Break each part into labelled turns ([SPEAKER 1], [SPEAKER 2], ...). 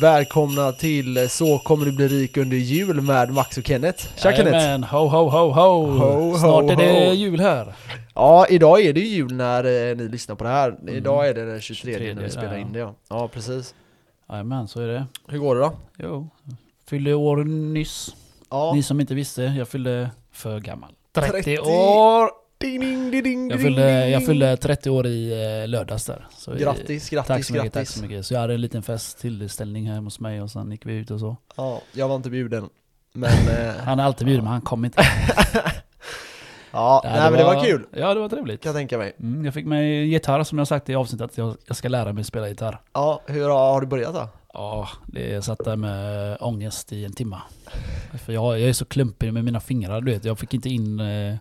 [SPEAKER 1] Välkomna till Så kommer du bli rik under jul med Max och Kenneth. Tja Kenneth!
[SPEAKER 2] Jajamän, ho ho ho ho!
[SPEAKER 1] Ho, ho,
[SPEAKER 2] Snart är det
[SPEAKER 1] ho.
[SPEAKER 2] jul här.
[SPEAKER 1] Ja, idag är det ju jul när eh, ni lyssnar på det här. Idag är det den 23,
[SPEAKER 2] 23,
[SPEAKER 1] när vi spelar
[SPEAKER 2] Mm. ja.
[SPEAKER 1] in det ja. Ja, precis.
[SPEAKER 2] Jajamän, så är det.
[SPEAKER 1] Hur går det då?
[SPEAKER 2] Jo. Fyllde år nyss.
[SPEAKER 1] Ja,
[SPEAKER 2] Ni som inte visste, jag fyllde för gammal. 30,
[SPEAKER 1] 30.
[SPEAKER 2] år!
[SPEAKER 1] ding, ding, ding, ding,
[SPEAKER 2] Jag
[SPEAKER 1] ding,
[SPEAKER 2] fyllde, jag
[SPEAKER 1] ding.
[SPEAKER 2] fyllde 30 år i eh, lördags där. Så i-
[SPEAKER 1] Grattis, grattis,
[SPEAKER 2] Tack så mycket, tack
[SPEAKER 1] grattis.
[SPEAKER 2] så mycket. Så jag hade en liten fest, tillställning här hos mig och sen gick vi ut och så.
[SPEAKER 1] Ja, jag var inte bjuden. Men, eh,
[SPEAKER 2] Han är alltid bjuden men han kom inte.
[SPEAKER 1] ja, nej men det var kul.
[SPEAKER 2] Ja, det var trevligt.
[SPEAKER 1] Kan jag tänka mig.
[SPEAKER 2] Mm, jag fick mig en gitarr som jag sagt i avsnittet att jag, jag ska lära mig spela gitarr.
[SPEAKER 1] Ja, hur har, har du börjat då?
[SPEAKER 2] Ja, det jag satt där med ångest i en timma. För jag, jag är så klumpig med mina fingrar, du vet. Jag fick inte in... Eh,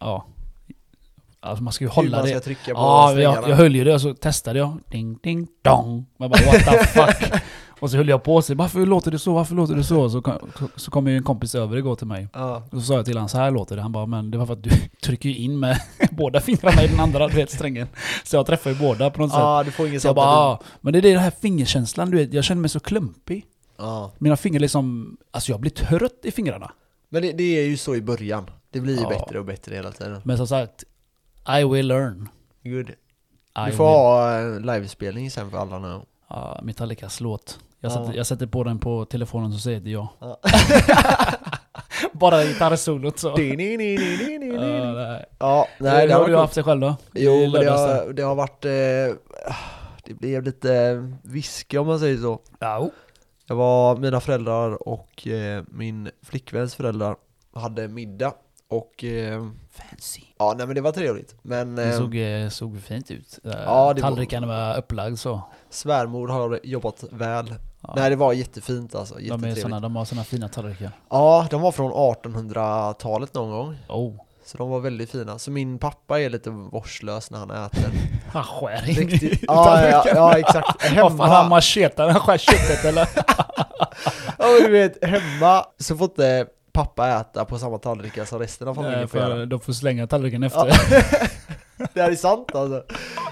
[SPEAKER 2] ja. Alltså man ska ju
[SPEAKER 1] hur
[SPEAKER 2] hålla
[SPEAKER 1] man ska
[SPEAKER 2] det.
[SPEAKER 1] trycka på
[SPEAKER 2] Ja,
[SPEAKER 1] strängarna.
[SPEAKER 2] jag, jag höll ju det och så testade jag. Ding, ding, dong. Man bara what the fuck. och så höll jag på och så, varför låter det så, varför låter det så? Så kom, så- så kom ju en kompis över igår till mig.
[SPEAKER 1] Ja.
[SPEAKER 2] Och så sa jag till honom, så här låter det. Han bara, men det var för att du trycker ju in med båda fingrarna i den andra, du vet, strängen. Så jag träffar ju båda på något sätt.
[SPEAKER 1] ja, du får inget
[SPEAKER 2] Så jag
[SPEAKER 1] sånt.
[SPEAKER 2] bara,
[SPEAKER 1] där
[SPEAKER 2] ah, men det är den här fingerkänslan, du vet, jag känner mig så klumpig.
[SPEAKER 1] du- Ja.
[SPEAKER 2] Mina fingrar liksom, alltså jag blir trött i fingrarna.
[SPEAKER 1] Men det, det är ju så i början. Det blir ju
[SPEAKER 2] Ja.
[SPEAKER 1] bättre och bättre hela tiden.
[SPEAKER 2] Men som sagt, I will learn.
[SPEAKER 1] Good.
[SPEAKER 2] I
[SPEAKER 1] Du får
[SPEAKER 2] will.
[SPEAKER 1] ha eh, livespelning sen för alla nu.
[SPEAKER 2] Ja, Metallicas låt. Jag,
[SPEAKER 1] Ja.
[SPEAKER 2] sätter, jag sätter på den på telefonen så säger det jag.
[SPEAKER 1] Ja.
[SPEAKER 2] Bara gitarrsolot så. Ja,
[SPEAKER 1] Ja,
[SPEAKER 2] nej.
[SPEAKER 1] nej det
[SPEAKER 2] Hur
[SPEAKER 1] har
[SPEAKER 2] har du
[SPEAKER 1] varit
[SPEAKER 2] haft
[SPEAKER 1] coolt.
[SPEAKER 2] det själv då?
[SPEAKER 1] Jo,
[SPEAKER 2] I
[SPEAKER 1] men det
[SPEAKER 2] lördags där?
[SPEAKER 1] har, det har varit... Eh, det blev lite viske om man säger så.
[SPEAKER 2] Ja.
[SPEAKER 1] Jag var, mina föräldrar och eh, min flickväns föräldrar hade middag och... Eh,
[SPEAKER 2] Fancy.
[SPEAKER 1] ja, nej men det var trevligt. Men
[SPEAKER 2] Det
[SPEAKER 1] eh,
[SPEAKER 2] såg, eh, såg fint ut.
[SPEAKER 1] Ja,
[SPEAKER 2] Ja,
[SPEAKER 1] det var-
[SPEAKER 2] Tallrikarna var upplagd så.
[SPEAKER 1] svärmor har jobbat väl.
[SPEAKER 2] Ja.
[SPEAKER 1] Nej, det var jättefint alltså.
[SPEAKER 2] de, är
[SPEAKER 1] Jättetrevligt.
[SPEAKER 2] såna, de har såna fina tallrikar.
[SPEAKER 1] Ja, de var från 1800-talet någon gång.
[SPEAKER 2] Oh,
[SPEAKER 1] Så de var väldigt fina. Så min pappa är lite vårdslös när han äter.
[SPEAKER 2] han skär in i
[SPEAKER 1] Riktigt. Ja, ja, ja,
[SPEAKER 2] tallrikarna.
[SPEAKER 1] ja, exakt.
[SPEAKER 2] Vad fan, han
[SPEAKER 1] Hemma,
[SPEAKER 2] machetar när han skär köttet eller?
[SPEAKER 1] ja, men du vet, hemma så får inte pappa äta på samma tallrikar som resten av familjen
[SPEAKER 2] Nej,
[SPEAKER 1] får göra.
[SPEAKER 2] för de får slänga tallriken efter.
[SPEAKER 1] Ja, Det här är sant alltså.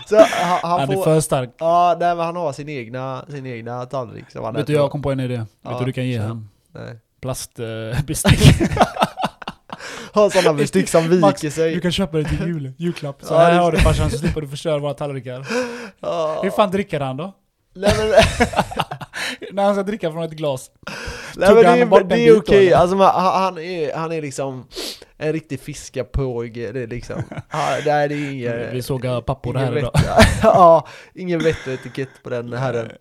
[SPEAKER 1] Så han, han,
[SPEAKER 2] han är
[SPEAKER 1] får...
[SPEAKER 2] för stark.
[SPEAKER 1] Ja, nej, men han har sin egna, sin egna tallrik som han
[SPEAKER 2] Vet du,
[SPEAKER 1] äter.
[SPEAKER 2] jag kom på en idé.
[SPEAKER 1] Ja,
[SPEAKER 2] Vet du, du kan ge eh,
[SPEAKER 1] kör.
[SPEAKER 2] honom
[SPEAKER 1] Nej.
[SPEAKER 2] plastbestick.
[SPEAKER 1] Har sådana bestick som
[SPEAKER 2] Max,
[SPEAKER 1] viker sig.
[SPEAKER 2] du kan köpa det till jul, julklapp. Så
[SPEAKER 1] Ja,
[SPEAKER 2] här
[SPEAKER 1] det-
[SPEAKER 2] har du farsan så slipper du förstöra våra tallrikar.
[SPEAKER 1] Ja.
[SPEAKER 2] Hur fan dricker han då?
[SPEAKER 1] Nej, men,
[SPEAKER 2] När han ska dricka från ett glas.
[SPEAKER 1] nej, men det,
[SPEAKER 2] han bort
[SPEAKER 1] är-
[SPEAKER 2] en
[SPEAKER 1] det
[SPEAKER 2] bit
[SPEAKER 1] är
[SPEAKER 2] då,
[SPEAKER 1] okej.
[SPEAKER 2] eller?
[SPEAKER 1] Alltså, man, han, han är, han är liksom en riktig fiskapåge. Det är liksom... Ja, det här är inget...
[SPEAKER 2] Vi såg eh, pappor
[SPEAKER 1] Ingen
[SPEAKER 2] här idag.
[SPEAKER 1] vett- ja, ingen vett och etikett på den herren.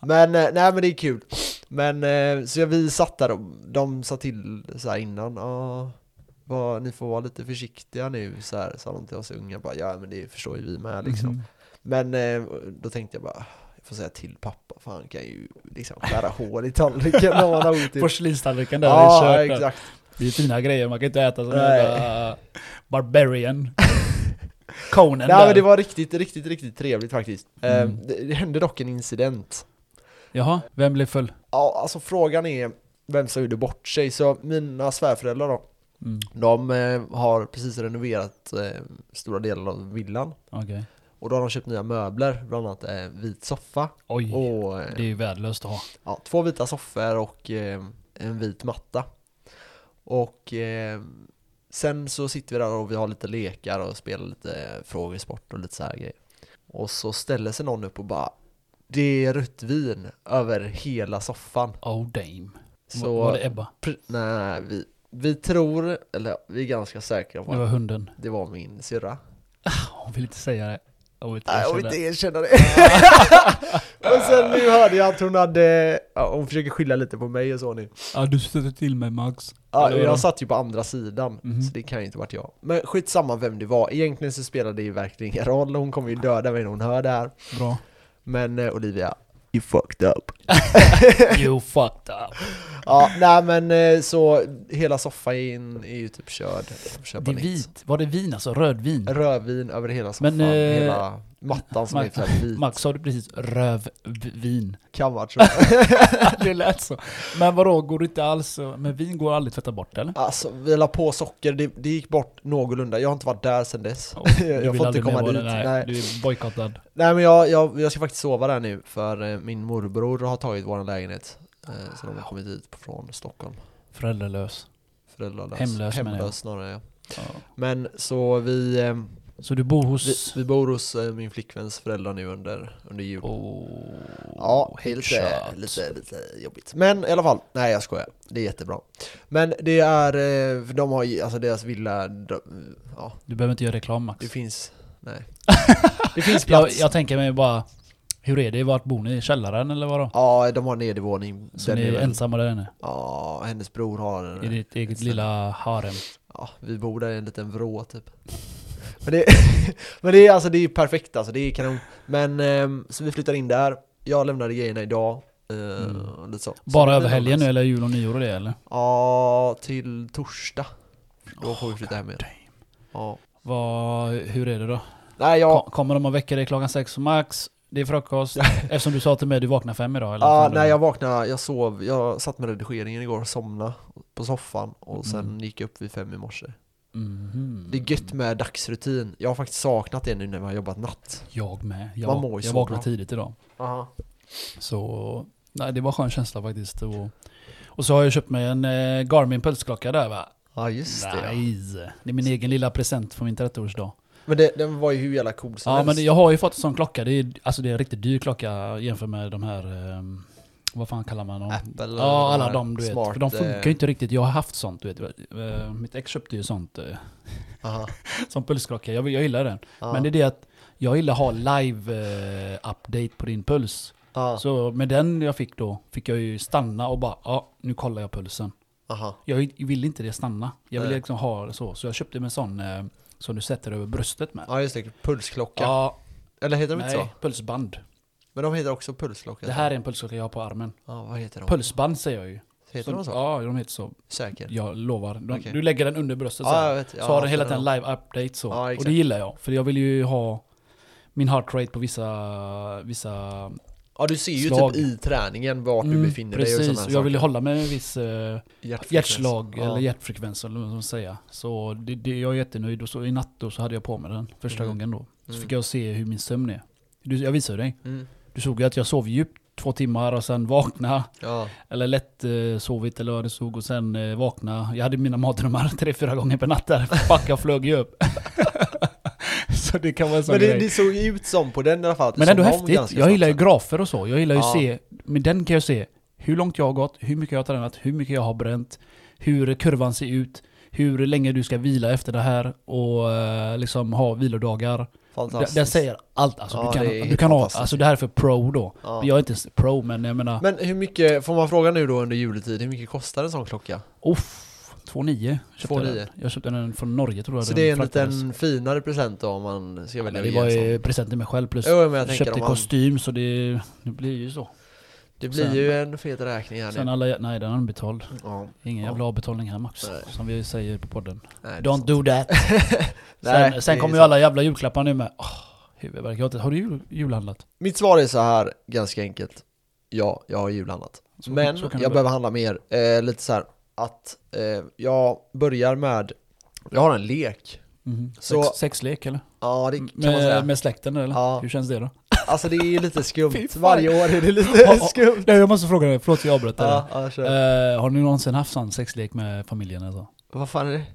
[SPEAKER 1] Men eh, nej men det är kul. Men eh, så jag- vi satt där och de sa till så här innan, ja, vad- ni får vara lite försiktiga nu så här, sa de till oss unga, bara, ja men det förstår ju vi med liksom.
[SPEAKER 2] Mhm.
[SPEAKER 1] Men eh, då tänkte jag bara, jag får säga till pappa, för han kan ju liksom skära hål i tallriken om han har otur.
[SPEAKER 2] Porslinstallriken där, det
[SPEAKER 1] Typ. Ja,
[SPEAKER 2] är kört. där.
[SPEAKER 1] exakt.
[SPEAKER 2] Det är fina grejer, man kan inte äta sådana
[SPEAKER 1] Nej.
[SPEAKER 2] jävla... eh, Barbarian. Conan
[SPEAKER 1] Nej men det
[SPEAKER 2] där.
[SPEAKER 1] var riktigt, riktigt, riktigt trevligt faktiskt. Eh,
[SPEAKER 2] Mm.
[SPEAKER 1] Det, det hände dock en incident.
[SPEAKER 2] Jaha, vem blev full?
[SPEAKER 1] Ja, alltså frågan är vem som gjorde bort sig. Så mina svärföräldrar då,
[SPEAKER 2] Mm.
[SPEAKER 1] de eh, har precis renoverat eh, stora delar av villan.
[SPEAKER 2] Okej.
[SPEAKER 1] Och då har de köpt nya möbler, bland annat eh, vit soffa
[SPEAKER 2] Oj.
[SPEAKER 1] och eh,
[SPEAKER 2] Det är ju värdelöst att ha.
[SPEAKER 1] ja, två vita soffor och eh, en vit matta. Och eh, sen så sitter vi där och vi har lite lekar och spelar lite eh, frågesport och lite så här grejer. Och så ställer sig någon upp och bara det är rött vin över hela soffan.
[SPEAKER 2] Oh damn.
[SPEAKER 1] Så,
[SPEAKER 2] Var det Ebba?
[SPEAKER 1] Pr- Nej, vi, vi tror, eller vi är ganska säkra på
[SPEAKER 2] Det var
[SPEAKER 1] att
[SPEAKER 2] hunden.
[SPEAKER 1] det var min syrra.
[SPEAKER 2] Hon vill inte säga det. Jag vill inte
[SPEAKER 1] Nej, jag
[SPEAKER 2] erkänna.
[SPEAKER 1] vill inte erkänna det. och sen nu hörde jag att hon hade, ja, hon försöker skylla lite på mig och så nu.
[SPEAKER 2] Ja, du stötte till mig Max.
[SPEAKER 1] Ja,
[SPEAKER 2] Eller vadå?
[SPEAKER 1] jag satt ju på andra sidan,
[SPEAKER 2] Mhm.
[SPEAKER 1] så det kan ju inte varit jag. Men skitsamma vem det var, egentligen så spelade det ju verkligen ingen roll, hon kommer ju döda mig när hon hör det här.
[SPEAKER 2] Bra.
[SPEAKER 1] Men eh, Olivia, you fucked up.
[SPEAKER 2] You fucked up.
[SPEAKER 1] Ja, nej men eh, så hela soffan in är ju typ körd. Köpa
[SPEAKER 2] Det är
[SPEAKER 1] nytt.
[SPEAKER 2] vit. Var det vin alltså? Rödvin?
[SPEAKER 1] Rödvin över hela soffan,
[SPEAKER 2] Men, eh,
[SPEAKER 1] hela Mattan som
[SPEAKER 2] Ma-
[SPEAKER 1] är så här vit.
[SPEAKER 2] Max sa du precis rövvin.
[SPEAKER 1] Kammad tror jag.
[SPEAKER 2] det lät så. Men vadå, går det inte alls? Men vin går aldrig att tvätta bort eller?
[SPEAKER 1] Alltså vi la på socker, det, det gick bort någorlunda. Jag har inte varit där sedan dess.
[SPEAKER 2] Du vill
[SPEAKER 1] jag får inte
[SPEAKER 2] aldrig mer
[SPEAKER 1] komma
[SPEAKER 2] vara
[SPEAKER 1] dit.
[SPEAKER 2] där.
[SPEAKER 1] Nej.
[SPEAKER 2] Nej,
[SPEAKER 1] Nej.
[SPEAKER 2] du är bojkottad.
[SPEAKER 1] men jag, jag, jag ska faktiskt sova där nu för eh, min morbror har tagit vår lägenhet. Eh, så de har kommit hit från Stockholm.
[SPEAKER 2] Föräldralös.
[SPEAKER 1] Föräldralös.
[SPEAKER 2] Hemlös menar jag.
[SPEAKER 1] Hemlös snarare ja.
[SPEAKER 2] Ja.
[SPEAKER 1] Men så vi, eh,
[SPEAKER 2] Så du bor
[SPEAKER 1] vi,
[SPEAKER 2] hos...
[SPEAKER 1] vi bor hos eh, min flickväns föräldrar nu under, under jul.
[SPEAKER 2] Oh,
[SPEAKER 1] Ja, det är lite,
[SPEAKER 2] headshot.
[SPEAKER 1] lite, lite jobbigt. Men i alla fall, nej jag skojar. Det är jättebra. Men det är, eh, för de har ju, alltså deras villa, de, ja
[SPEAKER 2] Du behöver inte göra reklam Max.
[SPEAKER 1] det finns, nej. Det finns
[SPEAKER 2] Jag,
[SPEAKER 1] plats.
[SPEAKER 2] jag tänker mig bara, hur är det? Vart bor ni? I källaren eller vadå?
[SPEAKER 1] Ja, de har en nedervåning.
[SPEAKER 2] Så
[SPEAKER 1] Den
[SPEAKER 2] ni
[SPEAKER 1] är
[SPEAKER 2] är
[SPEAKER 1] väl-
[SPEAKER 2] ensamma där inne?
[SPEAKER 1] Ja, hennes bror har
[SPEAKER 2] I
[SPEAKER 1] den.
[SPEAKER 2] ditt eget lilla harem?
[SPEAKER 1] Ja, vi bor där i en liten vrå typ. Men det, men det är alltså, det är perfekt alltså, det är kanon. Men, ehm, så vi flyttar in där. Jag lämnade grejerna idag. eh, och lite så. Så
[SPEAKER 2] Mm. Bara
[SPEAKER 1] det blir
[SPEAKER 2] över helgen
[SPEAKER 1] nice.
[SPEAKER 2] nu eller jul och nyår och det eller?
[SPEAKER 1] Ja, till torsdag. Då får vi flytta hem igen.
[SPEAKER 2] damn.
[SPEAKER 1] Ja.
[SPEAKER 2] Vad, hur är det då?
[SPEAKER 1] Nej, jag...
[SPEAKER 2] Ko- Kommer de att väcka dig klockan sex max? Det är frukost. Eftersom du sa till mig att du vaknar fem idag eller?
[SPEAKER 1] Ja,
[SPEAKER 2] Fan,
[SPEAKER 1] nej,
[SPEAKER 2] du-
[SPEAKER 1] jag vaknade, jag sov, jag satt med redigeringen igår och somnade på soffan och sen
[SPEAKER 2] Mm.
[SPEAKER 1] gick jag upp vid fem i morse.
[SPEAKER 2] Mhm.
[SPEAKER 1] Det är gött med dagsrutin. Jag har faktiskt saknat det nu när vi har jobbat natt.
[SPEAKER 2] Jag med. Jag,
[SPEAKER 1] Man mår ju
[SPEAKER 2] jag
[SPEAKER 1] så
[SPEAKER 2] vaknade
[SPEAKER 1] bra.
[SPEAKER 2] tidigt idag.
[SPEAKER 1] Aha.
[SPEAKER 2] Så nej, det var en skön känsla faktiskt. Och, och så har jag köpt mig en eh, Garmin pulsklocka där va?
[SPEAKER 1] Ja, just det. Ja.
[SPEAKER 2] nice. Det är min egen lilla present från min 30-årsdag.
[SPEAKER 1] Men det, den var ju hur jävla cool som
[SPEAKER 2] Ja
[SPEAKER 1] helst.
[SPEAKER 2] men jag har ju fått en sån klocka. Det är, alltså det är en riktigt dyr klocka jämfört med de här, ehm, vad fan kallar man dem?
[SPEAKER 1] Apple eller
[SPEAKER 2] Ja, alla
[SPEAKER 1] här
[SPEAKER 2] de du vet.
[SPEAKER 1] smart,
[SPEAKER 2] För de funkar
[SPEAKER 1] eh,
[SPEAKER 2] ju inte riktigt. Jag har haft sånt du vet. Eh, Mitt ex köpte ju sånt eh,
[SPEAKER 1] Aha.
[SPEAKER 2] som pulsklocka. Jag, jag gillar den.
[SPEAKER 1] Ja.
[SPEAKER 2] Men det är det att jag gillar ha live-update på din puls.
[SPEAKER 1] ja.
[SPEAKER 2] Så med den jag fick då, fick jag ju stanna och bara, ja nu kollar jag pulsen.
[SPEAKER 1] Aha.
[SPEAKER 2] Jag vill inte det stanna. Jag vill
[SPEAKER 1] Nej.
[SPEAKER 2] liksom ha det så. Så jag köpte mig en sån eh, som du sätter över bröstet med.
[SPEAKER 1] ja, just det. Pulsklocka.
[SPEAKER 2] Ja,
[SPEAKER 1] Eller heter de inte
[SPEAKER 2] nej,
[SPEAKER 1] så?
[SPEAKER 2] pulsband.
[SPEAKER 1] Men de heter också pulsklocka.
[SPEAKER 2] Det här är en pulsklocka jag har på armen.
[SPEAKER 1] Ja, vad heter de?
[SPEAKER 2] Pulsband säger jag ju.
[SPEAKER 1] Heter de så?
[SPEAKER 2] Ja, de heter så.
[SPEAKER 1] Säker?
[SPEAKER 2] Jag lovar. De,
[SPEAKER 1] Okej.
[SPEAKER 2] Du lägger den under bröstet så,
[SPEAKER 1] Ja,
[SPEAKER 2] här.
[SPEAKER 1] jag vet. Jag
[SPEAKER 2] så har den
[SPEAKER 1] haft
[SPEAKER 2] hela
[SPEAKER 1] den
[SPEAKER 2] tiden
[SPEAKER 1] då.
[SPEAKER 2] live update så.
[SPEAKER 1] Ja,
[SPEAKER 2] och
[SPEAKER 1] exakt.
[SPEAKER 2] det gillar jag. För jag vill ju ha min heart rate på vissa... vissa
[SPEAKER 1] Ja, du ser ju
[SPEAKER 2] Slag.
[SPEAKER 1] typ i träningen vart
[SPEAKER 2] Mm,
[SPEAKER 1] du befinner
[SPEAKER 2] precis.
[SPEAKER 1] dig och
[SPEAKER 2] och
[SPEAKER 1] sådana
[SPEAKER 2] jag vill ju hålla mig en viss eh,
[SPEAKER 1] Hjärtfrekvens.
[SPEAKER 2] hjärtslag
[SPEAKER 1] Ja.
[SPEAKER 2] eller hjärtfrekvens eller vad man ska säga. Så det, det, jag är jättenöjd. Och så i natt då så hade jag på mig den första
[SPEAKER 1] Mm.
[SPEAKER 2] gången då. Så
[SPEAKER 1] Mm.
[SPEAKER 2] fick jag se hur min sömn är. Du, jag visade dig.
[SPEAKER 1] Mm.
[SPEAKER 2] Du såg ju att jag sov djupt två timmar och sen vakna
[SPEAKER 1] Ja.
[SPEAKER 2] Eller lätt eh, sovit eller vad det stod och sen eh, vakna. Jag hade mina mardrömmar tre, fyra gånger per natt där. Fuck, jag flög ju upp. så det kan vara en sån
[SPEAKER 1] Men det,
[SPEAKER 2] grej.
[SPEAKER 1] det såg ju ut som på den i alla fall. att du
[SPEAKER 2] Men ändå
[SPEAKER 1] somnade om
[SPEAKER 2] häftigt.
[SPEAKER 1] ganska
[SPEAKER 2] Jag gillar ju
[SPEAKER 1] snabbt
[SPEAKER 2] grafer och så. Jag gillar ju
[SPEAKER 1] Ja.
[SPEAKER 2] se, med den kan jag se hur långt jag har gått, hur mycket jag har tränat, hur mycket jag har bränt, hur kurvan ser ut, hur länge du ska vila efter det här och eh, liksom ha vilodagar.
[SPEAKER 1] sen.
[SPEAKER 2] Den,
[SPEAKER 1] Fantastiskt.
[SPEAKER 2] den säger allt. Alltså,
[SPEAKER 1] Ja, det
[SPEAKER 2] du
[SPEAKER 1] är
[SPEAKER 2] kan, du
[SPEAKER 1] helt
[SPEAKER 2] kan ha,
[SPEAKER 1] fantastiskt.
[SPEAKER 2] alltså det här är för pro då.
[SPEAKER 1] Ja.
[SPEAKER 2] Jag är inte ens pro men jag menar,
[SPEAKER 1] Men hur mycket, får man fråga nu då under juletid, hur mycket kostar en sån klocka?
[SPEAKER 2] Uff, 2,9 köpte jag
[SPEAKER 1] 2,9.
[SPEAKER 2] den. Jag köpte den från Norge tror jag
[SPEAKER 1] Så
[SPEAKER 2] den
[SPEAKER 1] det är en
[SPEAKER 2] fraktades.
[SPEAKER 1] liten finare present då om man ska
[SPEAKER 2] Ja,
[SPEAKER 1] välja
[SPEAKER 2] men
[SPEAKER 1] att
[SPEAKER 2] Det
[SPEAKER 1] ge
[SPEAKER 2] var
[SPEAKER 1] en sån?
[SPEAKER 2] ju present till mig själv plus
[SPEAKER 1] Jo, men alltså- jag tänker
[SPEAKER 2] köpte
[SPEAKER 1] om man,
[SPEAKER 2] kostym så det, det blir ju så.
[SPEAKER 1] det blir
[SPEAKER 2] sen-
[SPEAKER 1] ju en fet räkning här
[SPEAKER 2] Sen
[SPEAKER 1] nu.
[SPEAKER 2] alla, nej den är betald.
[SPEAKER 1] Ja.
[SPEAKER 2] Ingen
[SPEAKER 1] Ja.
[SPEAKER 2] jävla avbetalning här Max.
[SPEAKER 1] Nej.
[SPEAKER 2] Som vi säger på podden.
[SPEAKER 1] Nej, det är
[SPEAKER 2] Don't
[SPEAKER 1] sant.
[SPEAKER 2] do that.
[SPEAKER 1] Nej,
[SPEAKER 2] sen sen
[SPEAKER 1] det är
[SPEAKER 2] kommer ju
[SPEAKER 1] sant.
[SPEAKER 2] alla jävla julklappar nu med. Oh, huvudvärk. Jag har inte- Har du jul, julhandlat?
[SPEAKER 1] Mitt svar är så här, ganska enkelt. Ja, jag har julhandlat.
[SPEAKER 2] Så-
[SPEAKER 1] Men
[SPEAKER 2] så kan det
[SPEAKER 1] jag
[SPEAKER 2] vara.
[SPEAKER 1] behöver handla mer. Eh, lite så här att eh, jag börjar med, jag har en lek.
[SPEAKER 2] Mhm.
[SPEAKER 1] Så-
[SPEAKER 2] Sex, sexlek eller?
[SPEAKER 1] Ja, det kan man säga.
[SPEAKER 2] Med, med släkten eller?
[SPEAKER 1] Ja.
[SPEAKER 2] Hur känns det då?
[SPEAKER 1] Alltså det är lite
[SPEAKER 2] Fy
[SPEAKER 1] skumt.
[SPEAKER 2] fan.
[SPEAKER 1] Varje år är det
[SPEAKER 2] Ja,
[SPEAKER 1] lite
[SPEAKER 2] ja.
[SPEAKER 1] skumt.
[SPEAKER 2] Nej jag måste fråga dig, förlåt att jag avbröt dig.
[SPEAKER 1] Ja, ja, kör.
[SPEAKER 2] Eh, har ni någonsin haft sån sexlek med familjen alltså? eller så?
[SPEAKER 1] Vad fan är det? Nej,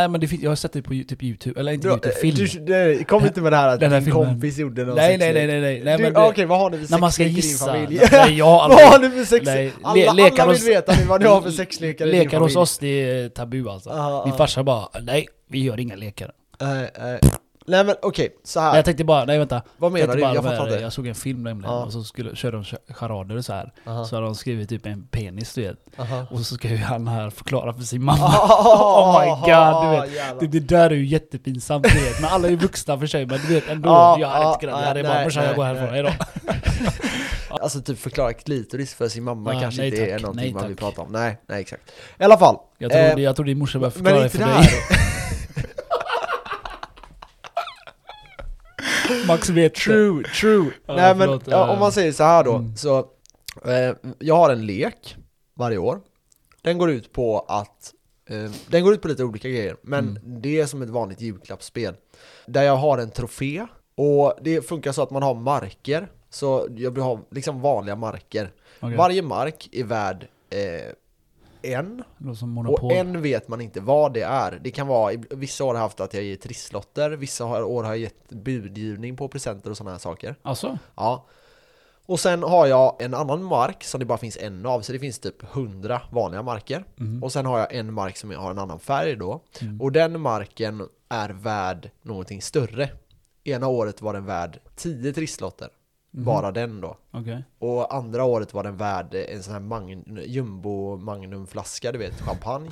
[SPEAKER 2] Nej men det fin- jag har sett det på Yo- typ youtube, eller inte youtube, film.
[SPEAKER 1] eh, Du, nej, kom inte med det här att
[SPEAKER 2] Den här
[SPEAKER 1] din
[SPEAKER 2] filmen.
[SPEAKER 1] kompis gjorde någon
[SPEAKER 2] nej,
[SPEAKER 1] sexlek.
[SPEAKER 2] nej nej nej nej. nej
[SPEAKER 1] Du,
[SPEAKER 2] men
[SPEAKER 1] Okej,
[SPEAKER 2] det,
[SPEAKER 1] vad har ni för
[SPEAKER 2] när man ska
[SPEAKER 1] sexlek
[SPEAKER 2] gissa.
[SPEAKER 1] i din familj?
[SPEAKER 2] Nej jag har
[SPEAKER 1] vad har
[SPEAKER 2] aldrig.
[SPEAKER 1] ni för sex...
[SPEAKER 2] Nej, le-
[SPEAKER 1] alla,
[SPEAKER 2] lekar
[SPEAKER 1] alla
[SPEAKER 2] hos-
[SPEAKER 1] vill veta nu vad ni har för sexlekar i din
[SPEAKER 2] Lekar hos
[SPEAKER 1] familj.
[SPEAKER 2] oss det är tabu alltså.
[SPEAKER 1] Ja,
[SPEAKER 2] Min
[SPEAKER 1] ja.
[SPEAKER 2] farsa bara, nej vi gör inga lekar.
[SPEAKER 1] Nej, nej. Eh, nej men okej, så
[SPEAKER 2] Nej,
[SPEAKER 1] här.
[SPEAKER 2] Jag tänkte bara, nej vänta.
[SPEAKER 1] vad menar
[SPEAKER 2] tänkte
[SPEAKER 1] du?
[SPEAKER 2] bara
[SPEAKER 1] Jag
[SPEAKER 2] de här-
[SPEAKER 1] fattar Ah. inte.
[SPEAKER 2] jag såg en film nämligen
[SPEAKER 1] Ja.
[SPEAKER 2] och så skulle, körde de ch- charader och så här.
[SPEAKER 1] Aha,
[SPEAKER 2] Så hade de skrivit typ en penis du vet.
[SPEAKER 1] aha.
[SPEAKER 2] Och så ska ju han här förklara för sin mamma.
[SPEAKER 1] Ah,
[SPEAKER 2] Oh my God, du vet.
[SPEAKER 1] ah, jävlar.
[SPEAKER 2] Det, det där är ju jättepinsamt du vet, men alla är ju vuxna för sig men du vet ändå,
[SPEAKER 1] Ja,
[SPEAKER 2] jag hade
[SPEAKER 1] ja,
[SPEAKER 2] inte kunnat,
[SPEAKER 1] ja,
[SPEAKER 2] jag hade bara
[SPEAKER 1] Ah, nej,
[SPEAKER 2] morsan jag
[SPEAKER 1] nej,
[SPEAKER 2] går härifrån,
[SPEAKER 1] nej.
[SPEAKER 2] hejdå.
[SPEAKER 1] Alltså typ förklara klitoris för sin mamma
[SPEAKER 2] Ja,
[SPEAKER 1] kanske
[SPEAKER 2] nej,
[SPEAKER 1] inte är
[SPEAKER 2] tack.
[SPEAKER 1] någonting
[SPEAKER 2] Nej,
[SPEAKER 1] man
[SPEAKER 2] tack.
[SPEAKER 1] vill prata om. Nej, nej exakt. I alla fall.
[SPEAKER 2] Jag tror,
[SPEAKER 1] Eh,
[SPEAKER 2] det, jag tror din morsa behöver
[SPEAKER 1] men
[SPEAKER 2] förklara det
[SPEAKER 1] inte
[SPEAKER 2] för
[SPEAKER 1] det
[SPEAKER 2] dig.
[SPEAKER 1] här.
[SPEAKER 2] Max vet det.
[SPEAKER 1] True, true.
[SPEAKER 2] Ja,
[SPEAKER 1] Nej men
[SPEAKER 2] förlåt,
[SPEAKER 1] ja,
[SPEAKER 2] eh.
[SPEAKER 1] om man säger så här då,
[SPEAKER 2] Mm.
[SPEAKER 1] så eh, jag har en lek varje år. Den går ut på att, eh, den går ut på lite olika grejer, men
[SPEAKER 2] Mm.
[SPEAKER 1] det är som ett vanligt julklappsspel. Där jag har en trofé, och det funkar så att man har marker, så jag vill ha liksom vanliga marker.
[SPEAKER 2] Okej,
[SPEAKER 1] Varje mark är värd eh, en,
[SPEAKER 2] det låter som
[SPEAKER 1] och
[SPEAKER 2] monopol.
[SPEAKER 1] en vet man inte vad det är. Det kan vara, i- vissa år har jag haft att jag ger trisslotter, vissa har- år har jag gett budgivning på presenter och sådana här saker.
[SPEAKER 2] Alltså?
[SPEAKER 1] Ja. Och sen har jag en annan mark som det bara finns en av, så det finns typ 100 vanliga marker.
[SPEAKER 2] Mm.
[SPEAKER 1] Och sen har jag en mark som har en annan färg då.
[SPEAKER 2] Mm.
[SPEAKER 1] Och den marken är värd någonting större. Ena året var den värd 10 trisslotter,
[SPEAKER 2] Mhm.
[SPEAKER 1] bara den då.
[SPEAKER 2] Okej.
[SPEAKER 1] Och andra året var den värd en sån här magn- jumbo magnumflaska, du vet, champagne.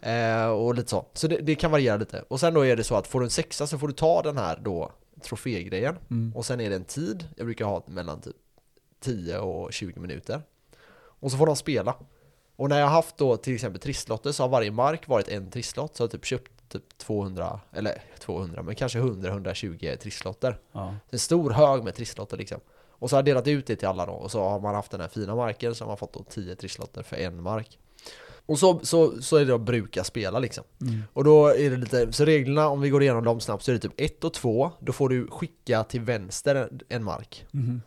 [SPEAKER 1] eh, och lite så. Så det, det kan variera lite. Och sen då är det så att får du en sexa så får du ta den här då trofégrejen.
[SPEAKER 2] Mm.
[SPEAKER 1] Och sen är det en tid, jag brukar ha mellan typ 10 och 20 minuter. Och så får de spela. Och när jag har haft då till exempel trisslotter så har varje mark varit en trisslott. Så jag har typ köpt typ 200, eller 200, men kanske 100-120 trisslotter.
[SPEAKER 2] Ja.
[SPEAKER 1] En stor hög med trisslotter liksom. Och så har jag delat ut det till alla då. Och så har man haft den här fina marken så har man fått då 10 trisslotter för en mark. Och så, så, så är det att bruka spela liksom.
[SPEAKER 2] Mm.
[SPEAKER 1] Och då är det lite, så reglerna om vi går igenom dem snabbt så är det typ 1 och 2, då får du skicka till vänster en mark.
[SPEAKER 2] Mhm.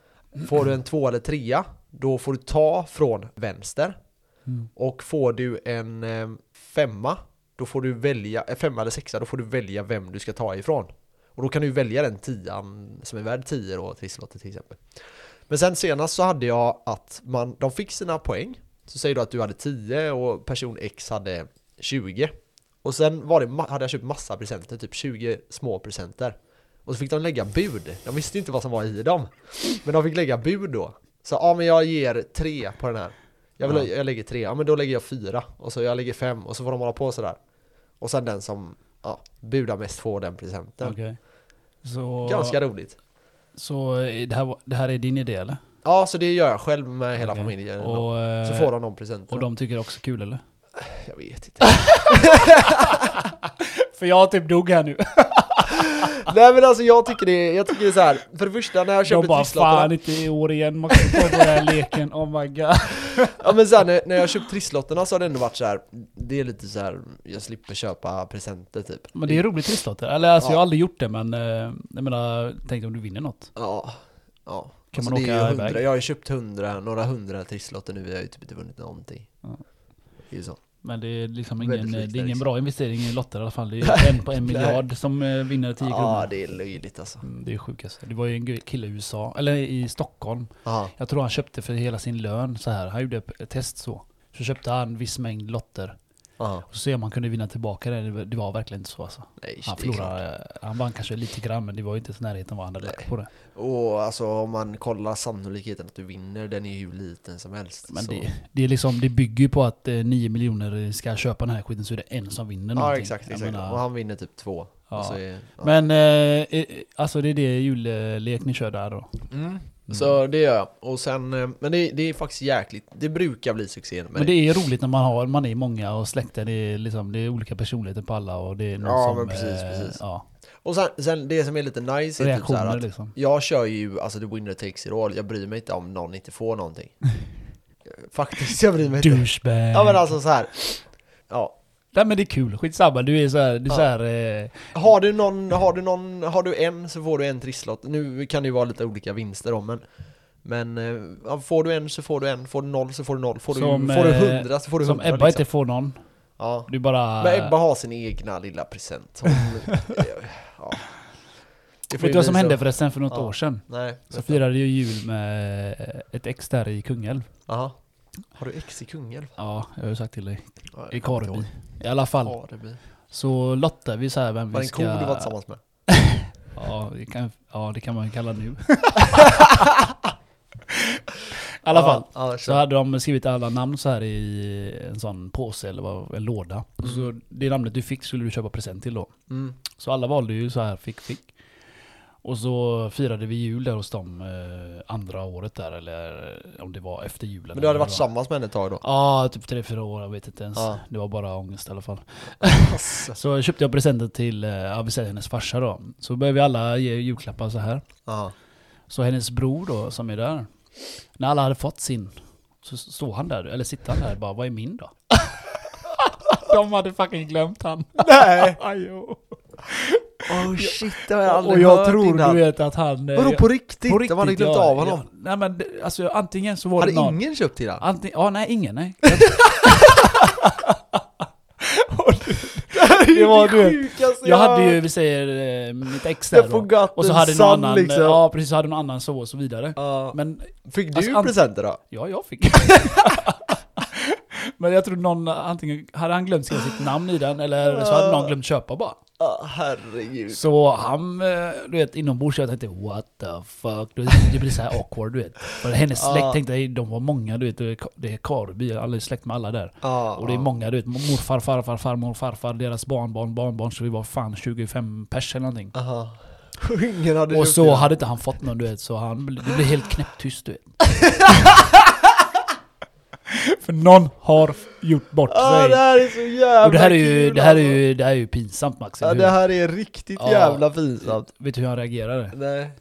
[SPEAKER 1] Får du en 2 eller 3, då får du ta från vänster.
[SPEAKER 2] Mm.
[SPEAKER 1] Och får du en eh, femma, då får du välja, eh, femma eller sexa, då får du välja vem du ska ta ifrån. Och då kan du välja den tian som är värd 10 då, trisslotter till exempel. Men sen senast så hade jag att man, de fick sina poäng. Så säger du att du hade 10 och person X hade 20. Och sen var det, ma- hade jag köpt massa presenter, typ 20 små presenter. Och så fick de lägga bud. De visste inte vad som var i dem. Men de fick lägga bud då. Så ja, men jag ger tre på den här. Jag, vill, jag lägger tre, ja men då lägger jag fyra. Och så jag lägger fem och så får de hålla på sådär. Och sen den som ja, budar mest får den presenten.
[SPEAKER 2] Okej. Så,
[SPEAKER 1] Ganska roligt.
[SPEAKER 2] så eh, det, här, var- det här är din idé eller?
[SPEAKER 1] Ja, så det gör jag själv med hela
[SPEAKER 2] Okej.
[SPEAKER 1] familjen.
[SPEAKER 2] Och, eh,
[SPEAKER 1] så får de de presenterna.
[SPEAKER 2] och de tycker det också är kul eller?
[SPEAKER 1] Jag vet inte.
[SPEAKER 2] För jag typ dog här nu.
[SPEAKER 1] Nej men alltså jag tycker det är, jag tycker det är så här. för det första när jag
[SPEAKER 2] De
[SPEAKER 1] köper
[SPEAKER 2] bara fan
[SPEAKER 1] trisslotterna,
[SPEAKER 2] inte i år igen, man kan ta på den här leken, oh my god.
[SPEAKER 1] ja men så här, när, när jag köpt trisslotterna så har det ändå varit så här. det är lite så här. jag slipper köpa presenter typ.
[SPEAKER 2] Men det är roligt trisslotter. Eller alltså
[SPEAKER 1] Ja.
[SPEAKER 2] jag har aldrig gjort det men, eh, jag menar, tänk om du vinner något.
[SPEAKER 1] Ja, ja.
[SPEAKER 2] Kan
[SPEAKER 1] Alltså,
[SPEAKER 2] man
[SPEAKER 1] det är
[SPEAKER 2] åka
[SPEAKER 1] ju 100
[SPEAKER 2] iväg?
[SPEAKER 1] Jag har ju köpt hundra, några hundra trisslotter nu, vi har ju typ inte vunnit någonting.
[SPEAKER 2] Ja.
[SPEAKER 1] Det är ju så.
[SPEAKER 2] Men det är liksom
[SPEAKER 1] Väldigt
[SPEAKER 2] ingen,
[SPEAKER 1] likt
[SPEAKER 2] det
[SPEAKER 1] där,
[SPEAKER 2] är ingen
[SPEAKER 1] liksom.
[SPEAKER 2] bra investering i lotter i alla fall. Det är en på en
[SPEAKER 1] Nej.
[SPEAKER 2] miljard som eh, vinner 10
[SPEAKER 1] Ja,
[SPEAKER 2] kronor.
[SPEAKER 1] det är löjligt alltså.
[SPEAKER 2] Mm, Det är sjukaste. Det var ju en gu- kille i USA, eller i Stockholm.
[SPEAKER 1] Aha.
[SPEAKER 2] Jag tror han köpte för hela sin lön så här. Han gjorde ett test så. Så köpte han en viss mängd lotter.
[SPEAKER 1] Aha.
[SPEAKER 2] Och så ser om han kunde vinna tillbaka det. Det var- Det var verkligen inte så alltså.
[SPEAKER 1] Nej,
[SPEAKER 2] Han
[SPEAKER 1] det är klart.
[SPEAKER 2] förlorade, eh, han vann kanske lite grann men det var ju inte ens i närheten vad han hade lagt på det.
[SPEAKER 1] Och alltså om man kollar sannolikheten att du vinner, den är ju hur liten som helst.
[SPEAKER 2] Men
[SPEAKER 1] så.
[SPEAKER 2] det, det, är liksom, det bygger ju på att eh, 9 miljoner ska köpa den här skiten så är det en som vinner
[SPEAKER 1] Ja
[SPEAKER 2] någonting.
[SPEAKER 1] exakt,
[SPEAKER 2] Jag
[SPEAKER 1] exakt.
[SPEAKER 2] menar,
[SPEAKER 1] Och han vinner typ två.
[SPEAKER 2] Ja.
[SPEAKER 1] Och så är, ja.
[SPEAKER 2] Men eh, eh, alltså det är det jullek ni kör där då.
[SPEAKER 1] Mm. Så det gör jag. Och sen, eh, men det, det är faktiskt jäkligt, det brukar bli succé.
[SPEAKER 2] Men det är roligt när man, har, man är många och släkten, det är, liksom, det är olika personligheter på alla och det är någon
[SPEAKER 1] Ja,
[SPEAKER 2] som...
[SPEAKER 1] men precis,
[SPEAKER 2] eh,
[SPEAKER 1] precis.
[SPEAKER 2] Ja,
[SPEAKER 1] Och sen, sen det som är lite nice är typ så här
[SPEAKER 2] reaktioner
[SPEAKER 1] att
[SPEAKER 2] liksom.
[SPEAKER 1] jag kör ju alltså the winner takes it all, jag bryr mig inte om någon inte får någonting. Faktiskt, jag bryr mig inte.
[SPEAKER 2] Douchebag.
[SPEAKER 1] Ja men alltså så här. Ja.
[SPEAKER 2] Nej men det är kul, skitsamma. Du är så här, du är
[SPEAKER 1] Ja.
[SPEAKER 2] så här eh,
[SPEAKER 1] Har du någon, har du någon, har du en så får du en trisslott. Nu kan det ju vara lite olika vinster om men men eh, ja, får du en så får du en, får du noll så får du noll, får du,
[SPEAKER 2] Som,
[SPEAKER 1] får du
[SPEAKER 2] eh,
[SPEAKER 1] hundra så får du
[SPEAKER 2] som
[SPEAKER 1] hundra
[SPEAKER 2] Ebba Ah.
[SPEAKER 1] liksom.
[SPEAKER 2] inte får någon.
[SPEAKER 1] ja.
[SPEAKER 2] Du bara...
[SPEAKER 1] Men Ebba har sin egna lilla present. Hon, eh, ja. Det får
[SPEAKER 2] Vet
[SPEAKER 1] ju
[SPEAKER 2] du vad som
[SPEAKER 1] visa-
[SPEAKER 2] hände förresten för något
[SPEAKER 1] Ja.
[SPEAKER 2] år sedan?
[SPEAKER 1] Nej.
[SPEAKER 2] Så
[SPEAKER 1] vänta.
[SPEAKER 2] firade jag jul med eh, ett ex där i Kungälv.
[SPEAKER 1] Jaha. Har du ex i Kungälv?
[SPEAKER 2] Ja, jag har ju sagt till dig.
[SPEAKER 1] Ja, jag
[SPEAKER 2] I
[SPEAKER 1] kommer inte
[SPEAKER 2] Karby.
[SPEAKER 1] ihåg.
[SPEAKER 2] I alla fall.
[SPEAKER 1] Karby.
[SPEAKER 2] Så lottade vi så här vem
[SPEAKER 1] Var det
[SPEAKER 2] vi
[SPEAKER 1] en
[SPEAKER 2] ska...
[SPEAKER 1] ko du var tillsammans med?
[SPEAKER 2] Ja, det kan, ja, det kan man ju kalla nu. I alla fall.
[SPEAKER 1] Ja, ja,
[SPEAKER 2] Så
[SPEAKER 1] kör.
[SPEAKER 2] hade de skrivit alla namn så här i en sån påse eller vad- en låda. Och Så det namnet du fick skulle du köpa present till då.
[SPEAKER 1] Mm.
[SPEAKER 2] Så alla valde ju så här fick fick. Och så firade vi jul där hos dem eh, andra året där, eller om det var efter julen.
[SPEAKER 1] Men du hade
[SPEAKER 2] eller
[SPEAKER 1] varit
[SPEAKER 2] vad det var.
[SPEAKER 1] tillsammans med henne ett tag då?
[SPEAKER 2] Ja, typ tre, fyra år, jag vet inte ens.
[SPEAKER 1] Ja.
[SPEAKER 2] Det var bara ångest i alla fall.
[SPEAKER 1] Asså.
[SPEAKER 2] Så köpte jag presenter till, eh, ja vi säger hennes farsa då. Så började vi alla ge julklappar så här.
[SPEAKER 1] Ja.
[SPEAKER 2] Så hennes bror då, som är där, när alla hade fått sin, så stod han där, eller sitter han där och bara, vad är min då? De hade fucking glömt han.
[SPEAKER 1] Nej!
[SPEAKER 2] Ajo.
[SPEAKER 1] Oh shit, det har jag aldrig
[SPEAKER 2] Och jag
[SPEAKER 1] hört
[SPEAKER 2] tror
[SPEAKER 1] innan.
[SPEAKER 2] du vet att han... eh,
[SPEAKER 1] Vadå på riktigt?
[SPEAKER 2] på
[SPEAKER 1] De hade glömt
[SPEAKER 2] ja,
[SPEAKER 1] av honom?
[SPEAKER 2] Ja, nej men det- alltså antingen så var
[SPEAKER 1] Hade
[SPEAKER 2] det någon...
[SPEAKER 1] ingen köpt till det?
[SPEAKER 2] Antingen, ja nej ingen nej. det var du. Jag hade ju, vi säger, eh, mitt ex där
[SPEAKER 1] Jag
[SPEAKER 2] då.
[SPEAKER 1] forgot
[SPEAKER 2] Och så
[SPEAKER 1] the
[SPEAKER 2] hade någon
[SPEAKER 1] sun,
[SPEAKER 2] annan,
[SPEAKER 1] liksom.
[SPEAKER 2] ja precis, så hade någon annan så och så vidare.
[SPEAKER 1] Ja.
[SPEAKER 2] Men
[SPEAKER 1] Fick du
[SPEAKER 2] Alltså, ant-
[SPEAKER 1] presenter då?
[SPEAKER 2] Ja, jag fick. Men jag tror någon, antingen hade han glömt skriva sitt namn i den eller så hade någon glömt köpa bara.
[SPEAKER 1] Ja, herregud.
[SPEAKER 2] Så han, eh, du vet, inombords jag tänkte what the fuck. Du vet, Det blir så här awkward du vet. För hennes
[SPEAKER 1] Ja.
[SPEAKER 2] släkt tänkte, jag, de var många du vet, det är Ka- det är Karby, alla är släkt med alla där.
[SPEAKER 1] Ja,
[SPEAKER 2] Och det är
[SPEAKER 1] ja.
[SPEAKER 2] många du vet, morfar, farfar, farmor, farfar, deras barnbarn, barnbarn. Så vi var fan 25 pers eller någonting.
[SPEAKER 1] Aha. Och Ingen hade
[SPEAKER 2] Och
[SPEAKER 1] köpt till
[SPEAKER 2] så
[SPEAKER 1] det.
[SPEAKER 2] hade inte han fått någon du vet, så han, det blev helt knäpptyst du vet. För någon har gjort bort
[SPEAKER 1] Ja, det
[SPEAKER 2] sig.
[SPEAKER 1] här är så jävla
[SPEAKER 2] Och det här är ju,
[SPEAKER 1] kul,
[SPEAKER 2] det här är
[SPEAKER 1] alltså.
[SPEAKER 2] ju, det här är ju pinsamt Max.
[SPEAKER 1] Ja,
[SPEAKER 2] eller
[SPEAKER 1] det
[SPEAKER 2] hur?
[SPEAKER 1] här är riktigt
[SPEAKER 2] Ja.
[SPEAKER 1] jävla pinsamt.
[SPEAKER 2] Vet du hur han reagerade?
[SPEAKER 1] Nej.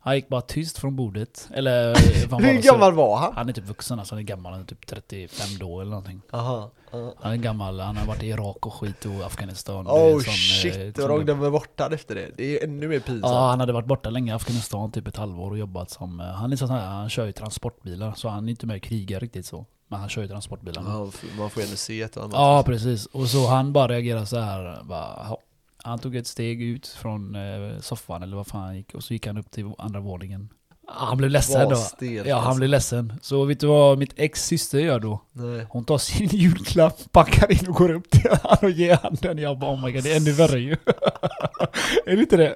[SPEAKER 2] Han gick bara tyst från bordet. Eller... vad var
[SPEAKER 1] Hur
[SPEAKER 2] det, så-
[SPEAKER 1] gammal var han?
[SPEAKER 2] Han är typ vuxen alltså, han är gammal, han är typ 35 då eller någonting.
[SPEAKER 1] Aha. ja.
[SPEAKER 2] Han är gammal, han har varit i Irak och skit och Afghanistan. Det är
[SPEAKER 1] Oh
[SPEAKER 2] sån, eh,
[SPEAKER 1] shit,
[SPEAKER 2] sån-
[SPEAKER 1] och de glömmer bort han efter det. Det är ännu mer pinsamt.
[SPEAKER 2] Ja, han hade varit borta länge i Afghanistan, typ ett halvår och jobbat som... eh, Han, är sån här, han kör ju transportbilar, så han är inte med och krigar riktigt så. Men han kör ju transportbilar. Ja,
[SPEAKER 1] Ja, f- man får ju ändå se ett och annat.
[SPEAKER 2] precis. Och så han bara reagerade så här. Bara, "Ja." han tog ett steg ut från eh, soffan eller vad fan han gick och så gick han upp till andra våningen. Han blev ledsen
[SPEAKER 1] Vad
[SPEAKER 2] då.
[SPEAKER 1] stelt,
[SPEAKER 2] Ja, han
[SPEAKER 1] alltså.
[SPEAKER 2] blev ledsen. Så vet du vad mitt ex syster gör då?
[SPEAKER 1] Nej.
[SPEAKER 2] Hon tar sin julklapp, packar in och går upp till han och ger han den. Jag bara oh my god, det är ännu värre ju. är det inte det?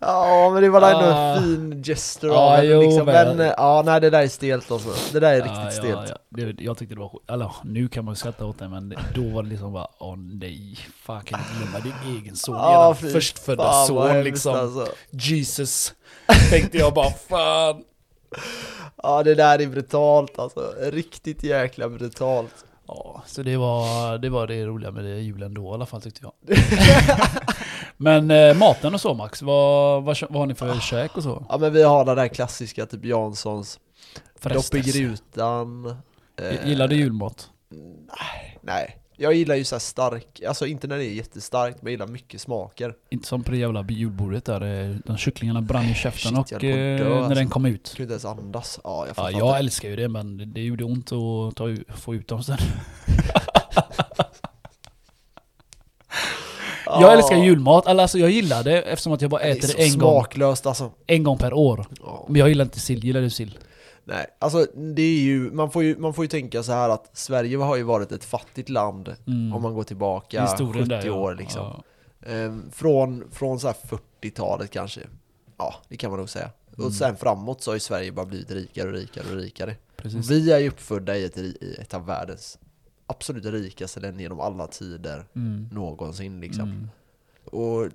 [SPEAKER 1] Ja, men det var ändå
[SPEAKER 2] Ah.
[SPEAKER 1] en fin gesture
[SPEAKER 2] Ja,
[SPEAKER 1] av henne
[SPEAKER 2] jo,
[SPEAKER 1] liksom.
[SPEAKER 2] men-
[SPEAKER 1] Men eh, ja, nej det där är stelt alltså. Det där är riktigt
[SPEAKER 2] Ja,
[SPEAKER 1] stelt.
[SPEAKER 2] Ja, ja. Det, jag tyckte det var skit. Eller nu kan man ju skratta åt det men det, då var det liksom bara åh nej, fan kan du glömma din egen son?
[SPEAKER 1] Ja,
[SPEAKER 2] eran
[SPEAKER 1] fy
[SPEAKER 2] förstfödda
[SPEAKER 1] fan, vad
[SPEAKER 2] son
[SPEAKER 1] hemskt,
[SPEAKER 2] liksom.
[SPEAKER 1] alltså.
[SPEAKER 2] Jesus. Tänkte jag bara fan.
[SPEAKER 1] Ja, det där är brutalt alltså. Riktigt jäkla brutalt.
[SPEAKER 2] Ja, så det var det, var det roliga med det julen då i alla fall tyckte jag. men eh, maten och så Max, vad, vad, kö- vad har ni
[SPEAKER 1] Ah,
[SPEAKER 2] för käk och så?
[SPEAKER 1] Ja, men vi har den där klassiska typ Janssons. Dopp i
[SPEAKER 2] Frestas.
[SPEAKER 1] grutan. eh,
[SPEAKER 2] Gillar du julmat?
[SPEAKER 1] Nej, jag gillar ju så här stark, alltså inte när det är jättestarkt, men jag gillar mycket smaker.
[SPEAKER 2] Inte som på det jävla julbordet där eh, de kycklingarna brann i käften
[SPEAKER 1] Shit, jag
[SPEAKER 2] och
[SPEAKER 1] höll på att
[SPEAKER 2] eh,
[SPEAKER 1] dö,
[SPEAKER 2] när
[SPEAKER 1] alltså.
[SPEAKER 2] den kom ut.
[SPEAKER 1] Kunde inte ens andas. Ja, jag
[SPEAKER 2] Ja,
[SPEAKER 1] fattar
[SPEAKER 2] jag
[SPEAKER 1] inte.
[SPEAKER 2] älskar ju det men det- det gjorde ont att ta, u- få ut dem sen. Jag
[SPEAKER 1] Ja,
[SPEAKER 2] älskar julmat, eller alltså jag gillar det eftersom att jag bara
[SPEAKER 1] det är
[SPEAKER 2] äter
[SPEAKER 1] så
[SPEAKER 2] det en gång,
[SPEAKER 1] smaklöst alltså.
[SPEAKER 2] en gång per år.
[SPEAKER 1] Ja.
[SPEAKER 2] Men jag gillar inte sill, gillar du sill?
[SPEAKER 1] Nej, alltså det är ju, man får ju, man får ju tänka så här att Sverige har ju varit ett fattigt land
[SPEAKER 2] Mm.
[SPEAKER 1] om man går tillbaka 70
[SPEAKER 2] där, ja.
[SPEAKER 1] år liksom.
[SPEAKER 2] Ja.
[SPEAKER 1] Ehm, från, från så här 40-talet kanske. Ja, det kan man nog säga.
[SPEAKER 2] Mm.
[SPEAKER 1] Och sen framåt så har ju Sverige bara blivit rikare och rikare och rikare.
[SPEAKER 2] Precis.
[SPEAKER 1] Vi är ju uppfödda i ett, ri- i ett av världens absolut rikaste länder genom alla tider
[SPEAKER 2] Mm.
[SPEAKER 1] någonsin liksom.
[SPEAKER 2] Mm.
[SPEAKER 1] Och,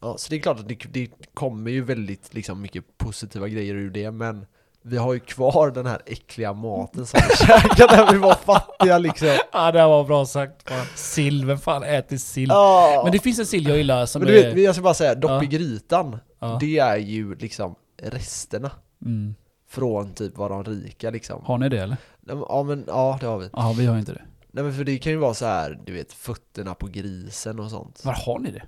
[SPEAKER 1] ja, så det är klart att det, det kommer ju väldigt liksom, mycket positiva grejer ur det, men vi har ju kvar den här äckliga maten som vi käkade när vi var fattiga liksom.
[SPEAKER 2] Ja det här var bra sagt. Fan. Sill, vem fan äter sill?
[SPEAKER 1] Ja.
[SPEAKER 2] Men det finns en sill jag gillar som
[SPEAKER 1] Men du
[SPEAKER 2] är...
[SPEAKER 1] vet, jag ska bara säga, dopp i grytan,
[SPEAKER 2] Ja.
[SPEAKER 1] det är ju liksom resterna
[SPEAKER 2] Mm.
[SPEAKER 1] från typ vad de rika liksom.
[SPEAKER 2] Har ni det eller?
[SPEAKER 1] Nej, men- Ja men ja, det har vi.
[SPEAKER 2] Ja vi har inte det.
[SPEAKER 1] Nej men för det kan ju vara så här, du vet, fötterna på grisen och sånt.
[SPEAKER 2] Var har ni det?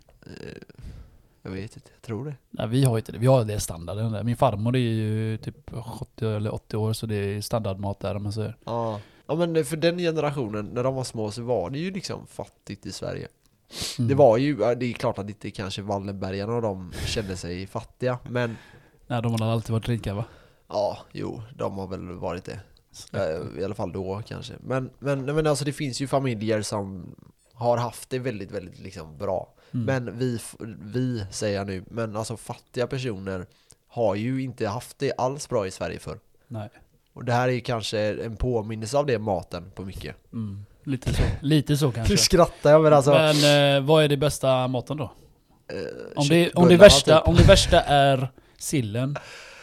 [SPEAKER 1] Jag vet inte, jag tror det.
[SPEAKER 2] Nej vi har inte det, vi har det standarden där. Min farmor är ju typ 70 eller 80 år så det är standardmat där om man säger.
[SPEAKER 1] Ja. ja men för den generationen, när de var små så var det ju liksom fattigt i Sverige.
[SPEAKER 2] Mm.
[SPEAKER 1] Det var ju, ja, det är klart att inte kanske Wallenbergarna och de kände sig fattiga, men
[SPEAKER 2] Nej de har alltid varit rika va?
[SPEAKER 1] ja, jo, de har väl varit det. Eh, I alla fall då kanske. Men, men, nej, men alltså det finns ju familjer som har haft det väldigt, väldigt liksom bra.
[SPEAKER 2] Mm.
[SPEAKER 1] Men vi, f- vi säger jag nu, men alltså fattiga personer har ju inte haft det alls bra i Sverige förr.
[SPEAKER 2] Nej.
[SPEAKER 1] Och det här är ju kanske en påminnelse av det maten på mycket.
[SPEAKER 2] Mm. Lite så, lite så
[SPEAKER 1] Nu
[SPEAKER 2] kanske.
[SPEAKER 1] skrattar jag men alltså.
[SPEAKER 2] Men eh, vad är det bästa maten då? Om det, om, det värsta,
[SPEAKER 1] typ.
[SPEAKER 2] om det värsta är sillen,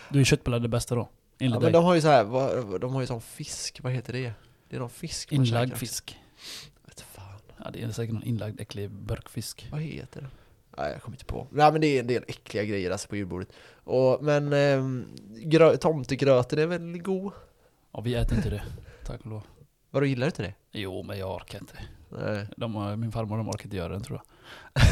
[SPEAKER 2] då är köttbullar det bästa då.
[SPEAKER 1] Ja,
[SPEAKER 2] Enligt
[SPEAKER 1] men
[SPEAKER 2] dig.
[SPEAKER 1] de har ju så här, vad- de har ju sån fisk, vad heter det? Det är någon fisk man
[SPEAKER 2] Inlagd
[SPEAKER 1] käkar.
[SPEAKER 2] fisk.
[SPEAKER 1] Vet fan,
[SPEAKER 2] Ja, det är säkert någon inlagd äcklig burkfisk.
[SPEAKER 1] vad heter det? Nej jag kommer inte på. Nej men det är en del äckliga grejer alltså på julbordet. Och, men ehm, grö- tomtegröten är väl god?
[SPEAKER 2] Ja, vi äter inte det. Tack och lov.
[SPEAKER 1] Vadå gillar du inte det?
[SPEAKER 2] Jo, men jag orkar inte.
[SPEAKER 1] Nej.
[SPEAKER 2] De, har- min farmor de orkar inte göra den tror jag.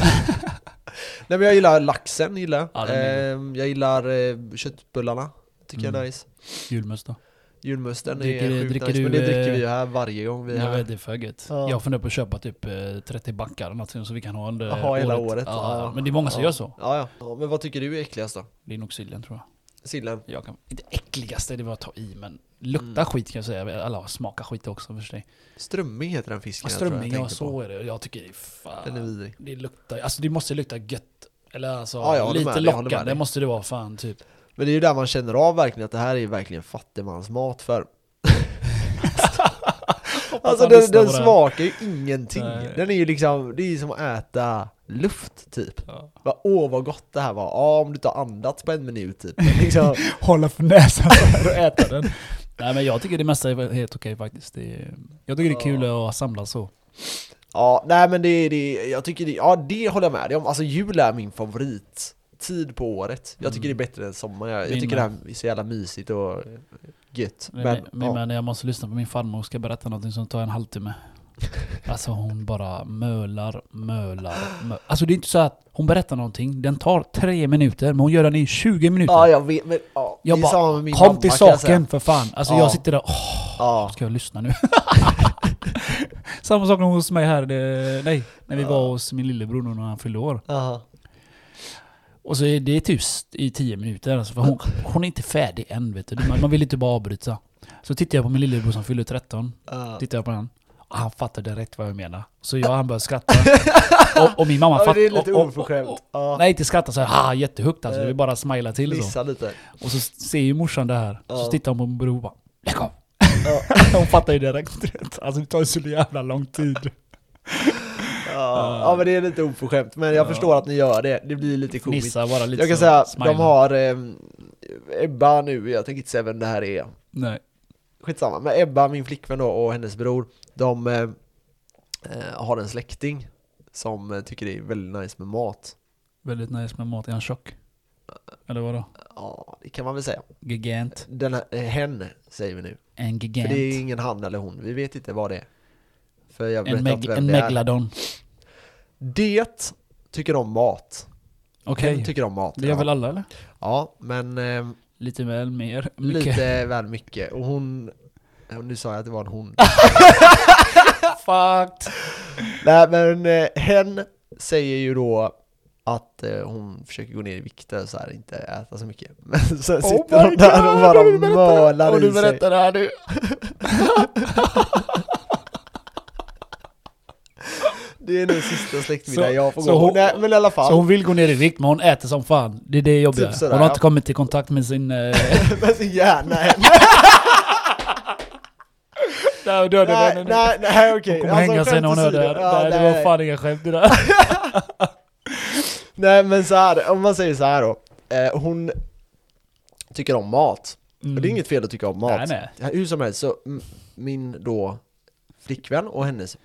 [SPEAKER 1] Nej men jag gillar laxen, gillar jag.
[SPEAKER 2] Ja, den är
[SPEAKER 1] Ehm, jag gillar eh, köttbullarna, tycker jag är
[SPEAKER 2] Mm.
[SPEAKER 1] nice.
[SPEAKER 2] Julmust då?
[SPEAKER 1] Julmusten
[SPEAKER 2] Dricker-
[SPEAKER 1] är sjukt
[SPEAKER 2] dricker
[SPEAKER 1] nice,
[SPEAKER 2] du,
[SPEAKER 1] men det dricker
[SPEAKER 2] eh,
[SPEAKER 1] vi ju här varje gång vi är
[SPEAKER 2] Jag
[SPEAKER 1] här.
[SPEAKER 2] vet, det är för gött.
[SPEAKER 1] Ja.
[SPEAKER 2] Jag funderar på att köpa typ eh, 30 backar eller någonting så vi kan ha under
[SPEAKER 1] Jaha, hela året.
[SPEAKER 2] Ja,
[SPEAKER 1] Ja.
[SPEAKER 2] Men det är många som
[SPEAKER 1] Ja.
[SPEAKER 2] gör så.
[SPEAKER 1] Ja, ja. ja, men vad tycker du är äckligast då?
[SPEAKER 2] Det är nog sillen tror jag.
[SPEAKER 1] Sillen?
[SPEAKER 2] jag kan, inte äckligaste, det var att ta i men lukta
[SPEAKER 1] Mm.
[SPEAKER 2] skit kan jag säga. Alla smakar skit också för sig.
[SPEAKER 1] Strömming heter den fisken
[SPEAKER 2] Strömming, ja
[SPEAKER 1] jag
[SPEAKER 2] så
[SPEAKER 1] tror
[SPEAKER 2] är det. Jag tycker det är
[SPEAKER 1] jag tänkte på. Den är
[SPEAKER 2] fan.
[SPEAKER 1] vidrig.
[SPEAKER 2] Det luktar, alltså det måste lukta gött. Eller alltså
[SPEAKER 1] Ja, jag håller med
[SPEAKER 2] lite
[SPEAKER 1] dig, jag håller med
[SPEAKER 2] lockande
[SPEAKER 1] dig.
[SPEAKER 2] måste det vara fan typ.
[SPEAKER 1] Men det är ju där man känner av verkligen att det här är ju verkligen fattigmansmat för Alltså
[SPEAKER 2] han
[SPEAKER 1] den,
[SPEAKER 2] lyssnar
[SPEAKER 1] den
[SPEAKER 2] på det här.
[SPEAKER 1] smakar ju ingenting.
[SPEAKER 2] Nej.
[SPEAKER 1] Den är ju liksom, det är ju som att äta luft typ.
[SPEAKER 2] Ja.
[SPEAKER 1] Bara, Åh vad gott det här var, ja om du inte har andats på en minut typ. Liksom,
[SPEAKER 2] Hålla för näsan så här och äta den. Nej men jag tycker det mesta är helt okej faktiskt. Det är, jag tycker det är kul att samlas så.
[SPEAKER 1] ja, nej men det, det jag tycker det, ja det håller jag med dig om. Alltså jul är min favorit tid på året. Jag tycker
[SPEAKER 2] Mm.
[SPEAKER 1] det är bättre än sommar. Jag, jag
[SPEAKER 2] Min
[SPEAKER 1] tycker det
[SPEAKER 2] med.
[SPEAKER 1] här är så jävla mysigt och gött.
[SPEAKER 2] Men,
[SPEAKER 1] Men,
[SPEAKER 2] men,
[SPEAKER 1] ja.
[SPEAKER 2] men jag måste lyssna på min farmor, hon ska berätta någonting som tar en halvtimme. Alltså hon bara mölar, mölar, mölar. Alltså det är inte så att hon berättar någonting, den tar tre minuter, men hon gör den i 20 minuter.
[SPEAKER 1] ja jag vet, men ja,
[SPEAKER 2] Jag
[SPEAKER 1] det är
[SPEAKER 2] bara,
[SPEAKER 1] samma med min
[SPEAKER 2] Kom
[SPEAKER 1] mamma,
[SPEAKER 2] till
[SPEAKER 1] kan jag säga.
[SPEAKER 2] saken för fan. Alltså
[SPEAKER 1] Ja.
[SPEAKER 2] jag sitter där, åh,
[SPEAKER 1] Ja.
[SPEAKER 2] ska jag lyssna nu? Samma sak när hon var hos mig här, det, nej, när vi var hos min lillebror nu när han fyllde år.
[SPEAKER 1] Aha.
[SPEAKER 2] Och så är det tyst i tio minuter alltså, för hon, hon är inte färdig än vet du. Man, man vill inte bara avbryta. Så tittar jag på min lillebror som fyller 13.
[SPEAKER 1] Ja.
[SPEAKER 2] Tittar jag på den. Och han fattar direkt vad jag menar. Så jag han började skratta. Och, och min mamma
[SPEAKER 1] Ja, men
[SPEAKER 2] fattar.
[SPEAKER 1] det är lite
[SPEAKER 2] och- och- och-
[SPEAKER 1] oförskämt.
[SPEAKER 2] och-
[SPEAKER 1] Ja.
[SPEAKER 2] Nej inte skratta såhär ha jättehögt alltså.
[SPEAKER 1] Nej.
[SPEAKER 2] Vi bara smilar till så.
[SPEAKER 1] Missa lite.
[SPEAKER 2] Och så ser ju morsan det här.
[SPEAKER 1] Ja.
[SPEAKER 2] Så tittar hon på min bror och bara Lägg av!
[SPEAKER 1] Ja.
[SPEAKER 2] Hon fattar ju direkt. du vet. Alltså det tar ju så jävla lång tid.
[SPEAKER 1] Ja, ja men det är lite oförskämt, men jag
[SPEAKER 2] Ja.
[SPEAKER 1] förstår att ni gör det, det blir lite komiskt
[SPEAKER 2] Nissa bara lite
[SPEAKER 1] Jag kan
[SPEAKER 2] så,
[SPEAKER 1] säga,
[SPEAKER 2] smilar.
[SPEAKER 1] de har ehm, Ebba nu, jag tänker inte säga vem det här är
[SPEAKER 2] Nej.
[SPEAKER 1] Skitsamma, men Ebba, min flickvän då, och hennes bror De eh, eh, har en släkting som eh, tycker det är väldigt nice med mat
[SPEAKER 2] Väldigt nice med mat. Är han tjock? Eller vadå?
[SPEAKER 1] Ja, det kan man väl säga
[SPEAKER 2] Gigant.
[SPEAKER 1] Den här, eh, hen säger vi nu,
[SPEAKER 2] En
[SPEAKER 1] för
[SPEAKER 2] gigant.
[SPEAKER 1] det är ingen han eller hon, vi vet inte vad det är För jag vet
[SPEAKER 2] en
[SPEAKER 1] inte
[SPEAKER 2] meg-
[SPEAKER 1] vem
[SPEAKER 2] en
[SPEAKER 1] det är
[SPEAKER 2] megladon.
[SPEAKER 1] Det tycker om mat
[SPEAKER 2] Okej.
[SPEAKER 1] Hen tycker om mat
[SPEAKER 2] Det gör
[SPEAKER 1] ja.
[SPEAKER 2] väl alla eller?
[SPEAKER 1] ja, men ehm,
[SPEAKER 2] Lite väl mer. Mycket.
[SPEAKER 1] Lite väl mycket. Och hon... ja, Nu sa jag att det var en hon.
[SPEAKER 2] Ah! Fucked.
[SPEAKER 1] Nej men eh, hen säger ju då att eh, hon försöker gå ner i vikt och så här, inte äta så mycket. Men sen
[SPEAKER 2] Oh
[SPEAKER 1] sitter hon där och bara mölar i sig.
[SPEAKER 2] det här nu.
[SPEAKER 1] Det är nog sista släktmiddagen
[SPEAKER 2] Så-
[SPEAKER 1] jag får
[SPEAKER 2] så
[SPEAKER 1] gå på.
[SPEAKER 2] hon-
[SPEAKER 1] Nej men i alla fall.
[SPEAKER 2] Så hon vill gå ner i vikt men hon äter som fan. Det är det jobbiga.
[SPEAKER 1] Typ sådär,
[SPEAKER 2] hon har
[SPEAKER 1] ja.
[SPEAKER 2] inte kommit i kontakt med sin... Eh,
[SPEAKER 1] Men så gärna hen.
[SPEAKER 2] där dödade
[SPEAKER 1] Nej, nej, nej okej. Alltså,
[SPEAKER 2] Hon kommer hänga sig när hon hör det här.
[SPEAKER 1] Ja,
[SPEAKER 2] nej, det var fan inga skämt det där.
[SPEAKER 1] nej men så här, om man säger så här då. Eh, hon tycker om mat. Och det är inget fel att tycka om mat.
[SPEAKER 2] Mm. Nej, nej.
[SPEAKER 1] Ja, Hur som helst, så m- min då flickvän och hennes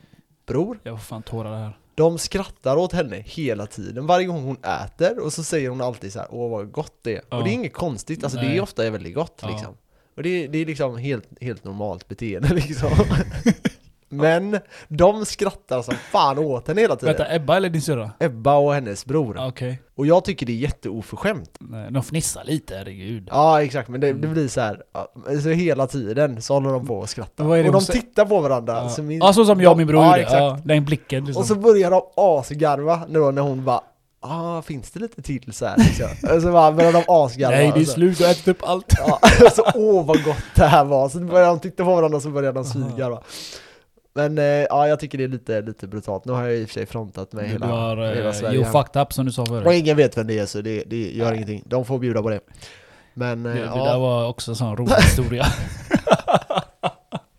[SPEAKER 1] bror,
[SPEAKER 2] Jag får fan tårar det här.
[SPEAKER 1] de skrattar åt henne hela tiden. Varje gång hon äter och så säger hon alltid så här, åh vad gott det är.
[SPEAKER 2] Ja.
[SPEAKER 1] Och det är inget konstigt, alltså det
[SPEAKER 2] Nej.
[SPEAKER 1] är ofta är väldigt gott
[SPEAKER 2] Ja.
[SPEAKER 1] liksom. Och det, det är liksom helt, helt normalt beteende liksom. Men de skrattar som fan åt henne hela tiden.
[SPEAKER 2] Vänta, Ebba eller din syrra?
[SPEAKER 1] Ebba och hennes bror.
[SPEAKER 2] Ja, Okej.
[SPEAKER 1] Och jag tycker det är jätteoförskämt.
[SPEAKER 2] Nej, De fnissar lite, herregud.
[SPEAKER 1] Ja exakt, men det,
[SPEAKER 2] Mm.
[SPEAKER 1] det blir så här, ja, så hela tiden så håller de på och skrattar.
[SPEAKER 2] Men vad är det
[SPEAKER 1] Och de
[SPEAKER 2] hon sä-
[SPEAKER 1] tittar på varandra.
[SPEAKER 2] Ja,
[SPEAKER 1] Så alltså, min-
[SPEAKER 2] ja så som jag och min bror
[SPEAKER 1] Ja,
[SPEAKER 2] gjorde.
[SPEAKER 1] exakt.
[SPEAKER 2] Ja, den blicken liksom.
[SPEAKER 1] Och så börjar de asgarva när, då, när hon bara Ah, finns det lite till så här? liksom? Och så bara börjar de asgarva
[SPEAKER 2] Nej, det är
[SPEAKER 1] och så-
[SPEAKER 2] slut, du har ätit upp allt.
[SPEAKER 1] Ja, så åh vad gott det här var, så börjar de titta på varandra och så börjar de svingarva Men eh, ja, jag tycker det är lite, lite brutalt, nu har jag i och för sig frontat med
[SPEAKER 2] Du
[SPEAKER 1] hela,
[SPEAKER 2] har
[SPEAKER 1] hela
[SPEAKER 2] eh,
[SPEAKER 1] Sverige
[SPEAKER 2] you
[SPEAKER 1] här.
[SPEAKER 2] fucked up som du sa
[SPEAKER 1] Och
[SPEAKER 2] förut.
[SPEAKER 1] ingen vet vem det är så det, det gör ingenting, de får bjuda på det Men
[SPEAKER 2] Det,
[SPEAKER 1] eh,
[SPEAKER 2] det
[SPEAKER 1] ja,
[SPEAKER 2] där var också en sån rolig historia.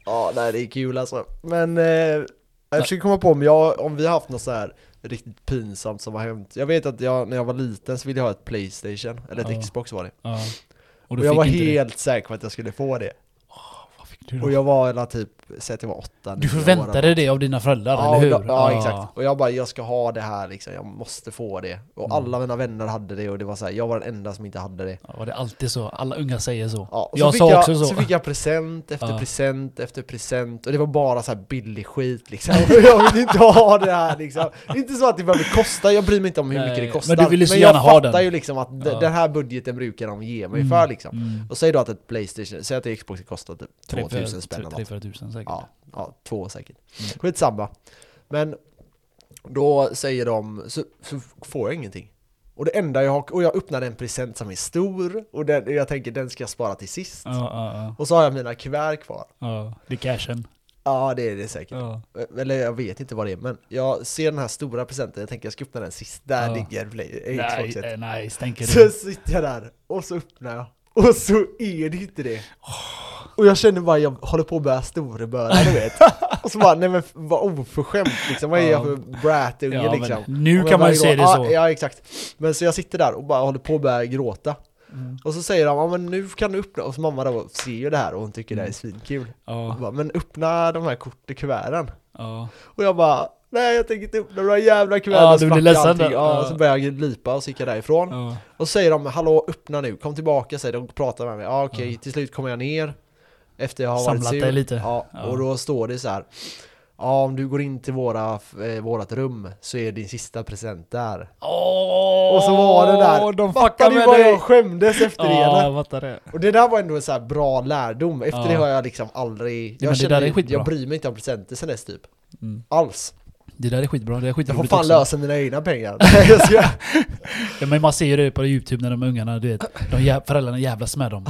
[SPEAKER 1] ja nej, det är kul alltså Men eh, jag försöker komma på om, jag, om vi har haft något så här riktigt pinsamt som har hänt. Jag vet att jag, när jag var liten så ville jag ha ett Playstation, eller ett
[SPEAKER 2] Ja.
[SPEAKER 1] Xbox var det.
[SPEAKER 2] Ja.
[SPEAKER 1] Och,
[SPEAKER 2] du
[SPEAKER 1] jag
[SPEAKER 2] fick
[SPEAKER 1] var
[SPEAKER 2] inte det.
[SPEAKER 1] helt säker på att jag skulle få det.
[SPEAKER 2] Vad fick du, då?
[SPEAKER 1] Och jag var hela typ, säg att jag var åtta,
[SPEAKER 2] du
[SPEAKER 1] nio år
[SPEAKER 2] förväntade
[SPEAKER 1] eller något.
[SPEAKER 2] dig av dina föräldrar,
[SPEAKER 1] Ja,
[SPEAKER 2] eller hur? Ah.
[SPEAKER 1] ja, ja, exakt. Och jag bara, jag ska ha det här liksom, jag måste få det. Och
[SPEAKER 2] Mm.
[SPEAKER 1] alla mina vänner hade det och det var så här, jag var den enda som inte hade det.
[SPEAKER 2] Ja, var det alltid så? Alla unga säger så.
[SPEAKER 1] Ja, och så
[SPEAKER 2] jag
[SPEAKER 1] fick
[SPEAKER 2] sa
[SPEAKER 1] jag,
[SPEAKER 2] också så.
[SPEAKER 1] fick jag present efter
[SPEAKER 2] Ja.
[SPEAKER 1] present efter present och det var bara så här billig skit liksom. Och jag vill inte ha det här liksom. Det är inte så att det behöver kosta, jag bryr mig inte om hur
[SPEAKER 2] Nej,
[SPEAKER 1] mycket det
[SPEAKER 2] men
[SPEAKER 1] kostar.
[SPEAKER 2] du ville så
[SPEAKER 1] jag
[SPEAKER 2] gärna ha
[SPEAKER 1] fattar
[SPEAKER 2] den.
[SPEAKER 1] ju liksom att d-
[SPEAKER 2] Ja.
[SPEAKER 1] den här budgeten brukar de ge mig
[SPEAKER 2] Mm,
[SPEAKER 1] för liksom.
[SPEAKER 2] mm.
[SPEAKER 1] Och säg då att ett Playstation, säg att ett Xbox kostar typ
[SPEAKER 2] Tre,
[SPEAKER 1] 2000
[SPEAKER 2] fyra-
[SPEAKER 1] spänn eller
[SPEAKER 2] tre-
[SPEAKER 1] något.
[SPEAKER 2] fyra tusen säkert.
[SPEAKER 1] Ja, ja, två säkert.
[SPEAKER 2] Mm.
[SPEAKER 1] Skitsamma. Men då säger de, så, så får jag ingenting. Och det enda jag har, och jag öppnar en present som är stor och den, jag tänker den ska jag spara till sist.
[SPEAKER 2] Ja, ja, ja.
[SPEAKER 1] Och så har jag mina kuvert kvar.
[SPEAKER 2] ja. Det är cashen.
[SPEAKER 1] Ja, det är det säkert.
[SPEAKER 2] Ja.
[SPEAKER 1] Eller jag vet inte vad det är, men jag ser den här stora presenten, jag tänker jag ska öppna den sist. Där
[SPEAKER 2] Ja.
[SPEAKER 1] ligger play,
[SPEAKER 2] Nej,
[SPEAKER 1] Xboxet.
[SPEAKER 2] eh, nice, tänker
[SPEAKER 1] Så
[SPEAKER 2] du.
[SPEAKER 1] sitter jag där, och så öppnar jag. Och så är det inte det. Och jag känner bara, jag håller på att börja storeböla, du vet. Och så bara, nej men f- vad oförskämt liksom, vad är jag för bratunge
[SPEAKER 2] Ja,
[SPEAKER 1] liksom?
[SPEAKER 2] men nu
[SPEAKER 1] Och jag
[SPEAKER 2] kan man
[SPEAKER 1] börjar
[SPEAKER 2] ju se det
[SPEAKER 1] gråta.
[SPEAKER 2] så.
[SPEAKER 1] Ja, ja, exakt. Men så jag sitter där och bara håller på att börja gråta.
[SPEAKER 2] Mm.
[SPEAKER 1] Och så säger de, ja men nu kan du öppna, och så mamma då ser ju det här och hon tycker det här är svinkul.
[SPEAKER 2] Mm. Ja,
[SPEAKER 1] Och bara, men öppna de här kort i kuverten.
[SPEAKER 2] ja.
[SPEAKER 1] Och jag bara, nej jag tänker inte öppna några jävla kuvert.
[SPEAKER 2] Ja,
[SPEAKER 1] och
[SPEAKER 2] du
[SPEAKER 1] sprack
[SPEAKER 2] blir ledsen
[SPEAKER 1] allting.
[SPEAKER 2] då.
[SPEAKER 1] Ja,
[SPEAKER 2] Ja.
[SPEAKER 1] och så började jag lipa och så gick jag därifrån.
[SPEAKER 2] ja.
[SPEAKER 1] Och så säger de, hallå öppna nu, kom tillbaka, säger de, och pratar med mig. Ja okej,
[SPEAKER 2] Ja.
[SPEAKER 1] till slut kommer jag ner. Efter jag har varit
[SPEAKER 2] Samlat
[SPEAKER 1] sur.
[SPEAKER 2] dig lite.
[SPEAKER 1] Ja,
[SPEAKER 2] Ja.
[SPEAKER 1] och då står det så här. Ja, om du går in till våra, eh, vårat rum så är din sista present där.
[SPEAKER 2] Åh,
[SPEAKER 1] Och så var det där.
[SPEAKER 2] De
[SPEAKER 1] Fattar
[SPEAKER 2] fuckar
[SPEAKER 1] ni
[SPEAKER 2] med
[SPEAKER 1] vad
[SPEAKER 2] dig!
[SPEAKER 1] jag skämdes efter det?
[SPEAKER 2] Ja,
[SPEAKER 1] eller?
[SPEAKER 2] jag fattar det.
[SPEAKER 1] Och det där var ändå en så här bra lärdom. Efter
[SPEAKER 2] Ja.
[SPEAKER 1] det har jag liksom aldrig...
[SPEAKER 2] men
[SPEAKER 1] Jag,
[SPEAKER 2] det där är
[SPEAKER 1] känner,
[SPEAKER 2] skitbra.
[SPEAKER 1] jag bryr mig inte om presenter sen dess typ.
[SPEAKER 2] Mm.
[SPEAKER 1] Alls.
[SPEAKER 2] Det där är skitbra, det är
[SPEAKER 1] Jag får
[SPEAKER 2] skitroligt
[SPEAKER 1] fan
[SPEAKER 2] också.
[SPEAKER 1] lösa mina egna pengar. Jag ska-
[SPEAKER 2] Ja, men man ser ju det på YouTube när de ungarna, du vet, de jä- föräldrarna jävlas med dem.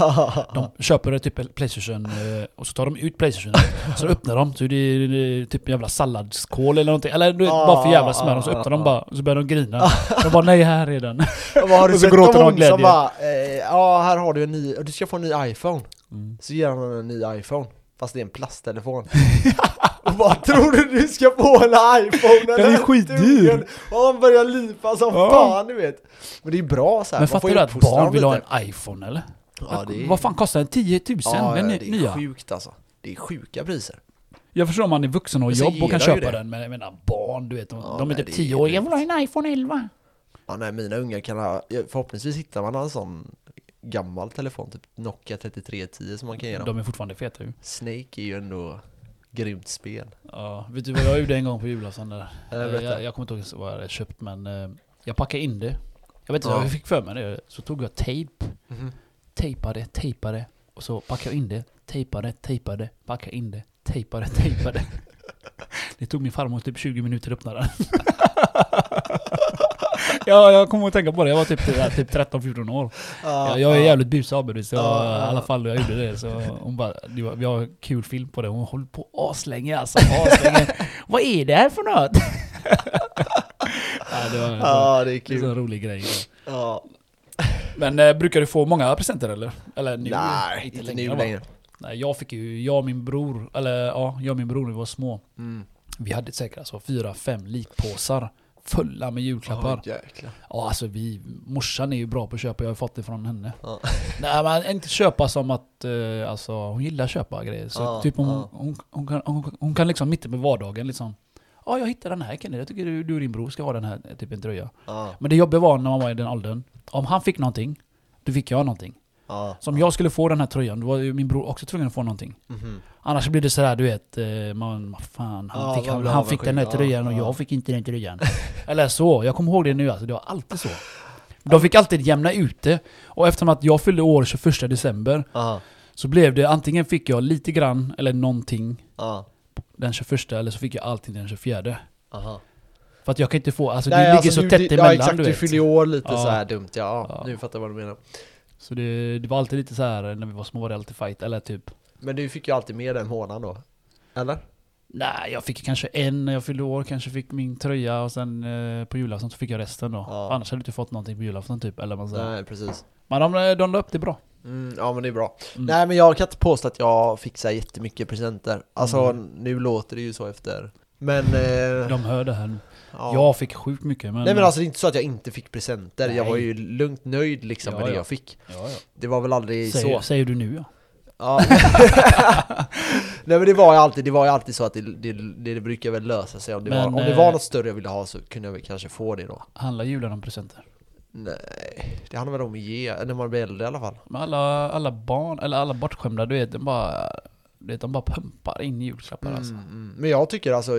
[SPEAKER 2] De köper eh, typ Playstation eh, och så tar de ut Playstation Så öppnar de, så är det, det är typ en jävla salladskål eller någonting. Eller du vet, bara för att jävlas med dem så öppnar de bara, och så börjar de grina. De bara nej, här är den.
[SPEAKER 1] Och vad har du
[SPEAKER 2] Och så
[SPEAKER 1] sett om
[SPEAKER 2] gråter de av
[SPEAKER 1] hon som
[SPEAKER 2] glädje.
[SPEAKER 1] bara, eh, ja här har du en ny, du ska få en ny iPhone.
[SPEAKER 2] Mm.
[SPEAKER 1] Så ger han henne en ny iPhone, fast det är en plasttelefon. Och bara, tror du du ska få en iPhone eller?
[SPEAKER 2] Den är skitdyr.
[SPEAKER 1] Ungen. Och han börjar lipa som
[SPEAKER 2] Ja.
[SPEAKER 1] fan du vet. Men det är bra så här.
[SPEAKER 2] Men
[SPEAKER 1] man får
[SPEAKER 2] fattar du att
[SPEAKER 1] uppfostra
[SPEAKER 2] barn
[SPEAKER 1] dem
[SPEAKER 2] vill ha
[SPEAKER 1] lite.
[SPEAKER 2] en iPhone eller?
[SPEAKER 1] Ja det är,
[SPEAKER 2] Vad fan kostar den? 10 000?
[SPEAKER 1] ja,
[SPEAKER 2] den
[SPEAKER 1] det
[SPEAKER 2] är
[SPEAKER 1] är
[SPEAKER 2] nya.
[SPEAKER 1] sjukt alltså. Det är sjuka priser.
[SPEAKER 2] Jag förstår om man är vuxen och har
[SPEAKER 1] Men så
[SPEAKER 2] jobb och kan
[SPEAKER 1] gillar ju
[SPEAKER 2] köpa
[SPEAKER 1] det.
[SPEAKER 2] den, men jag menar barn, du vet. De,
[SPEAKER 1] Ja,
[SPEAKER 2] de är
[SPEAKER 1] nej,
[SPEAKER 2] typ
[SPEAKER 1] det
[SPEAKER 2] 10
[SPEAKER 1] är
[SPEAKER 2] år.
[SPEAKER 1] ju-
[SPEAKER 2] Jag vill ha en iPhone 11.
[SPEAKER 1] Ja, nej, mina ungar kan ha, förhoppningsvis hittar man en sån gammal telefon, typ Nokia 3310 som man kan ge dem.
[SPEAKER 2] De är fortfarande feta ju.
[SPEAKER 1] Snake är ju ändå grymt spel.
[SPEAKER 2] Ja, vet du vad jag gjorde en gång på julafton där?
[SPEAKER 1] Ja, jag
[SPEAKER 2] Jag,
[SPEAKER 1] vet det.
[SPEAKER 2] Eh, jag, kommer inte ihåg vad jag hade köpt men eh, jag packade in det. Jag vet inte,
[SPEAKER 1] Ja.
[SPEAKER 2] jag fick för mig det. Så tog jag tejp,
[SPEAKER 1] Mm-hmm.
[SPEAKER 2] tejpade, tejpade. Och så packade jag in det, tejpade, tejpade, packade in det, tejpade, tejpade. det tog min farmor typ 20 minuter att öppna den. ja, jag kommer att tänka på det. Jag var typ, ja, typ 13-14 år.
[SPEAKER 1] Ja,
[SPEAKER 2] Jag, jag är jävligt busig av mig, så
[SPEAKER 1] Ja,
[SPEAKER 2] i
[SPEAKER 1] ja.
[SPEAKER 2] alla fall när jag gjorde det så hon bara, "Du, vi har en kul film på det, hon håller på aslänge alltså, aslänge. Vad är det här för något? ja, det var en sån,
[SPEAKER 1] Ja, det är
[SPEAKER 2] det är en
[SPEAKER 1] kul.
[SPEAKER 2] sån rolig grej.
[SPEAKER 1] Ja.
[SPEAKER 2] Men eh, brukar du få många presenter eller? eller nu,
[SPEAKER 1] Nej, inte, nu
[SPEAKER 2] va?
[SPEAKER 1] längre.
[SPEAKER 2] Nej, jag fick ju, jag och min bror, eller ja, jag och min bror när vi var små,
[SPEAKER 1] Mm.
[SPEAKER 2] vi hade säkert alltså fyra, fem likpåsar fulla med julklappar.
[SPEAKER 1] Oj, jäklar.
[SPEAKER 2] Ja alltså vi, morsan är ju bra på att köpa, jag har fått det från henne.
[SPEAKER 1] Ja.
[SPEAKER 2] Nej men inte köpa som att, eh, alltså hon gillar att köpa grejer. Så
[SPEAKER 1] Ja,
[SPEAKER 2] typ hon,
[SPEAKER 1] ja.
[SPEAKER 2] hon, hon, kan, hon, hon kan liksom mitt i på vardagen liksom Ja jag hittade den här Kenny, jag tycker du, du och din bror ska ha den här, typ en tröja.
[SPEAKER 1] Ja,
[SPEAKER 2] Men det jobbiga var när man var i den åldern, om han fick någonting, då fick jag någonting.
[SPEAKER 1] ja.
[SPEAKER 2] Så om jag skulle få den här tröjan, då var ju min bror också tvungen att få någonting.
[SPEAKER 1] Mhm.
[SPEAKER 2] Annars blir det sådär du vet, eh, man, vad fan, han
[SPEAKER 1] Ja,
[SPEAKER 2] fick,
[SPEAKER 1] man
[SPEAKER 2] han,
[SPEAKER 1] blir
[SPEAKER 2] han fick den här
[SPEAKER 1] avundsjuk, ja,
[SPEAKER 2] tröjan och
[SPEAKER 1] ja.
[SPEAKER 2] jag fick inte den tröjan. Eller så, jag kommer ihåg det nu alltså, det var alltid så. De fick alltid jämna ut det. Och eftersom att jag fyllde år 21 december
[SPEAKER 1] Ja,
[SPEAKER 2] så blev det antingen fick jag lite grann eller någonting
[SPEAKER 1] ja.
[SPEAKER 2] den 21 eller så fick jag allting den 24.
[SPEAKER 1] Aha.
[SPEAKER 2] För att jag kan inte få, alltså
[SPEAKER 1] Nej,
[SPEAKER 2] det ligger
[SPEAKER 1] alltså,
[SPEAKER 2] så
[SPEAKER 1] du-
[SPEAKER 2] tätt
[SPEAKER 1] det-
[SPEAKER 2] emellan
[SPEAKER 1] Ja exakt,
[SPEAKER 2] du
[SPEAKER 1] du,
[SPEAKER 2] vet.
[SPEAKER 1] fyller ju år lite
[SPEAKER 2] Ja.
[SPEAKER 1] så här dumt ja.
[SPEAKER 2] Ja.
[SPEAKER 1] Nu fattar jag vad du menar.
[SPEAKER 2] Så det, det var alltid lite så här när vi var små var det alltid fight, eller typ
[SPEAKER 1] Men du fick ju alltid med den månaden då. Eller?
[SPEAKER 2] Nej, jag fick kanske en när jag fyllde år, kanske fick min tröja och sen eh, på julafton så fick jag resten då.
[SPEAKER 1] Ja.
[SPEAKER 2] Annars hade du inte fått någonting på julafton typ, eller man säger.
[SPEAKER 1] Nej, precis.
[SPEAKER 2] Men de, eh, de la upp det bra.
[SPEAKER 1] Mm, ja men det är bra.
[SPEAKER 2] Mm.
[SPEAKER 1] Nej men jag kan inte påstå att jag fixar jättemycket presenter. Alltså
[SPEAKER 2] Mm.
[SPEAKER 1] nu låter det ju så efter. Men... Eh,
[SPEAKER 2] De hör det här nu.
[SPEAKER 1] Ja.
[SPEAKER 2] Jag fick sjukt mycket men... eh,
[SPEAKER 1] Nej men alltså det är inte så att jag inte fick presenter, jag
[SPEAKER 2] Nej.
[SPEAKER 1] var ju lugnt nöjd liksom
[SPEAKER 2] Ja,
[SPEAKER 1] med det
[SPEAKER 2] ja.
[SPEAKER 1] jag fick.
[SPEAKER 2] ja, ja.
[SPEAKER 1] Det var väl aldrig
[SPEAKER 2] Säger,
[SPEAKER 1] så.
[SPEAKER 2] säger du nu ja.
[SPEAKER 1] Ja. Nej men det var ju alltid, det var ju alltid så att det, det, det brukar väl lösa sig. Om det, var,
[SPEAKER 2] Men,
[SPEAKER 1] om det
[SPEAKER 2] eh,
[SPEAKER 1] var något större jag ville ha så kunde jag väl kanske få det då.
[SPEAKER 2] Handlar julen om presenter?
[SPEAKER 1] Nej, det handlar väl om att ge, när man blir äldre i alla fall.
[SPEAKER 2] Men alla, alla barn, eller alla bortskämda, du vet, de bara... Du vet, de bara pumpar in julklappar alltså.
[SPEAKER 1] Mm, mm. Men jag tycker alltså,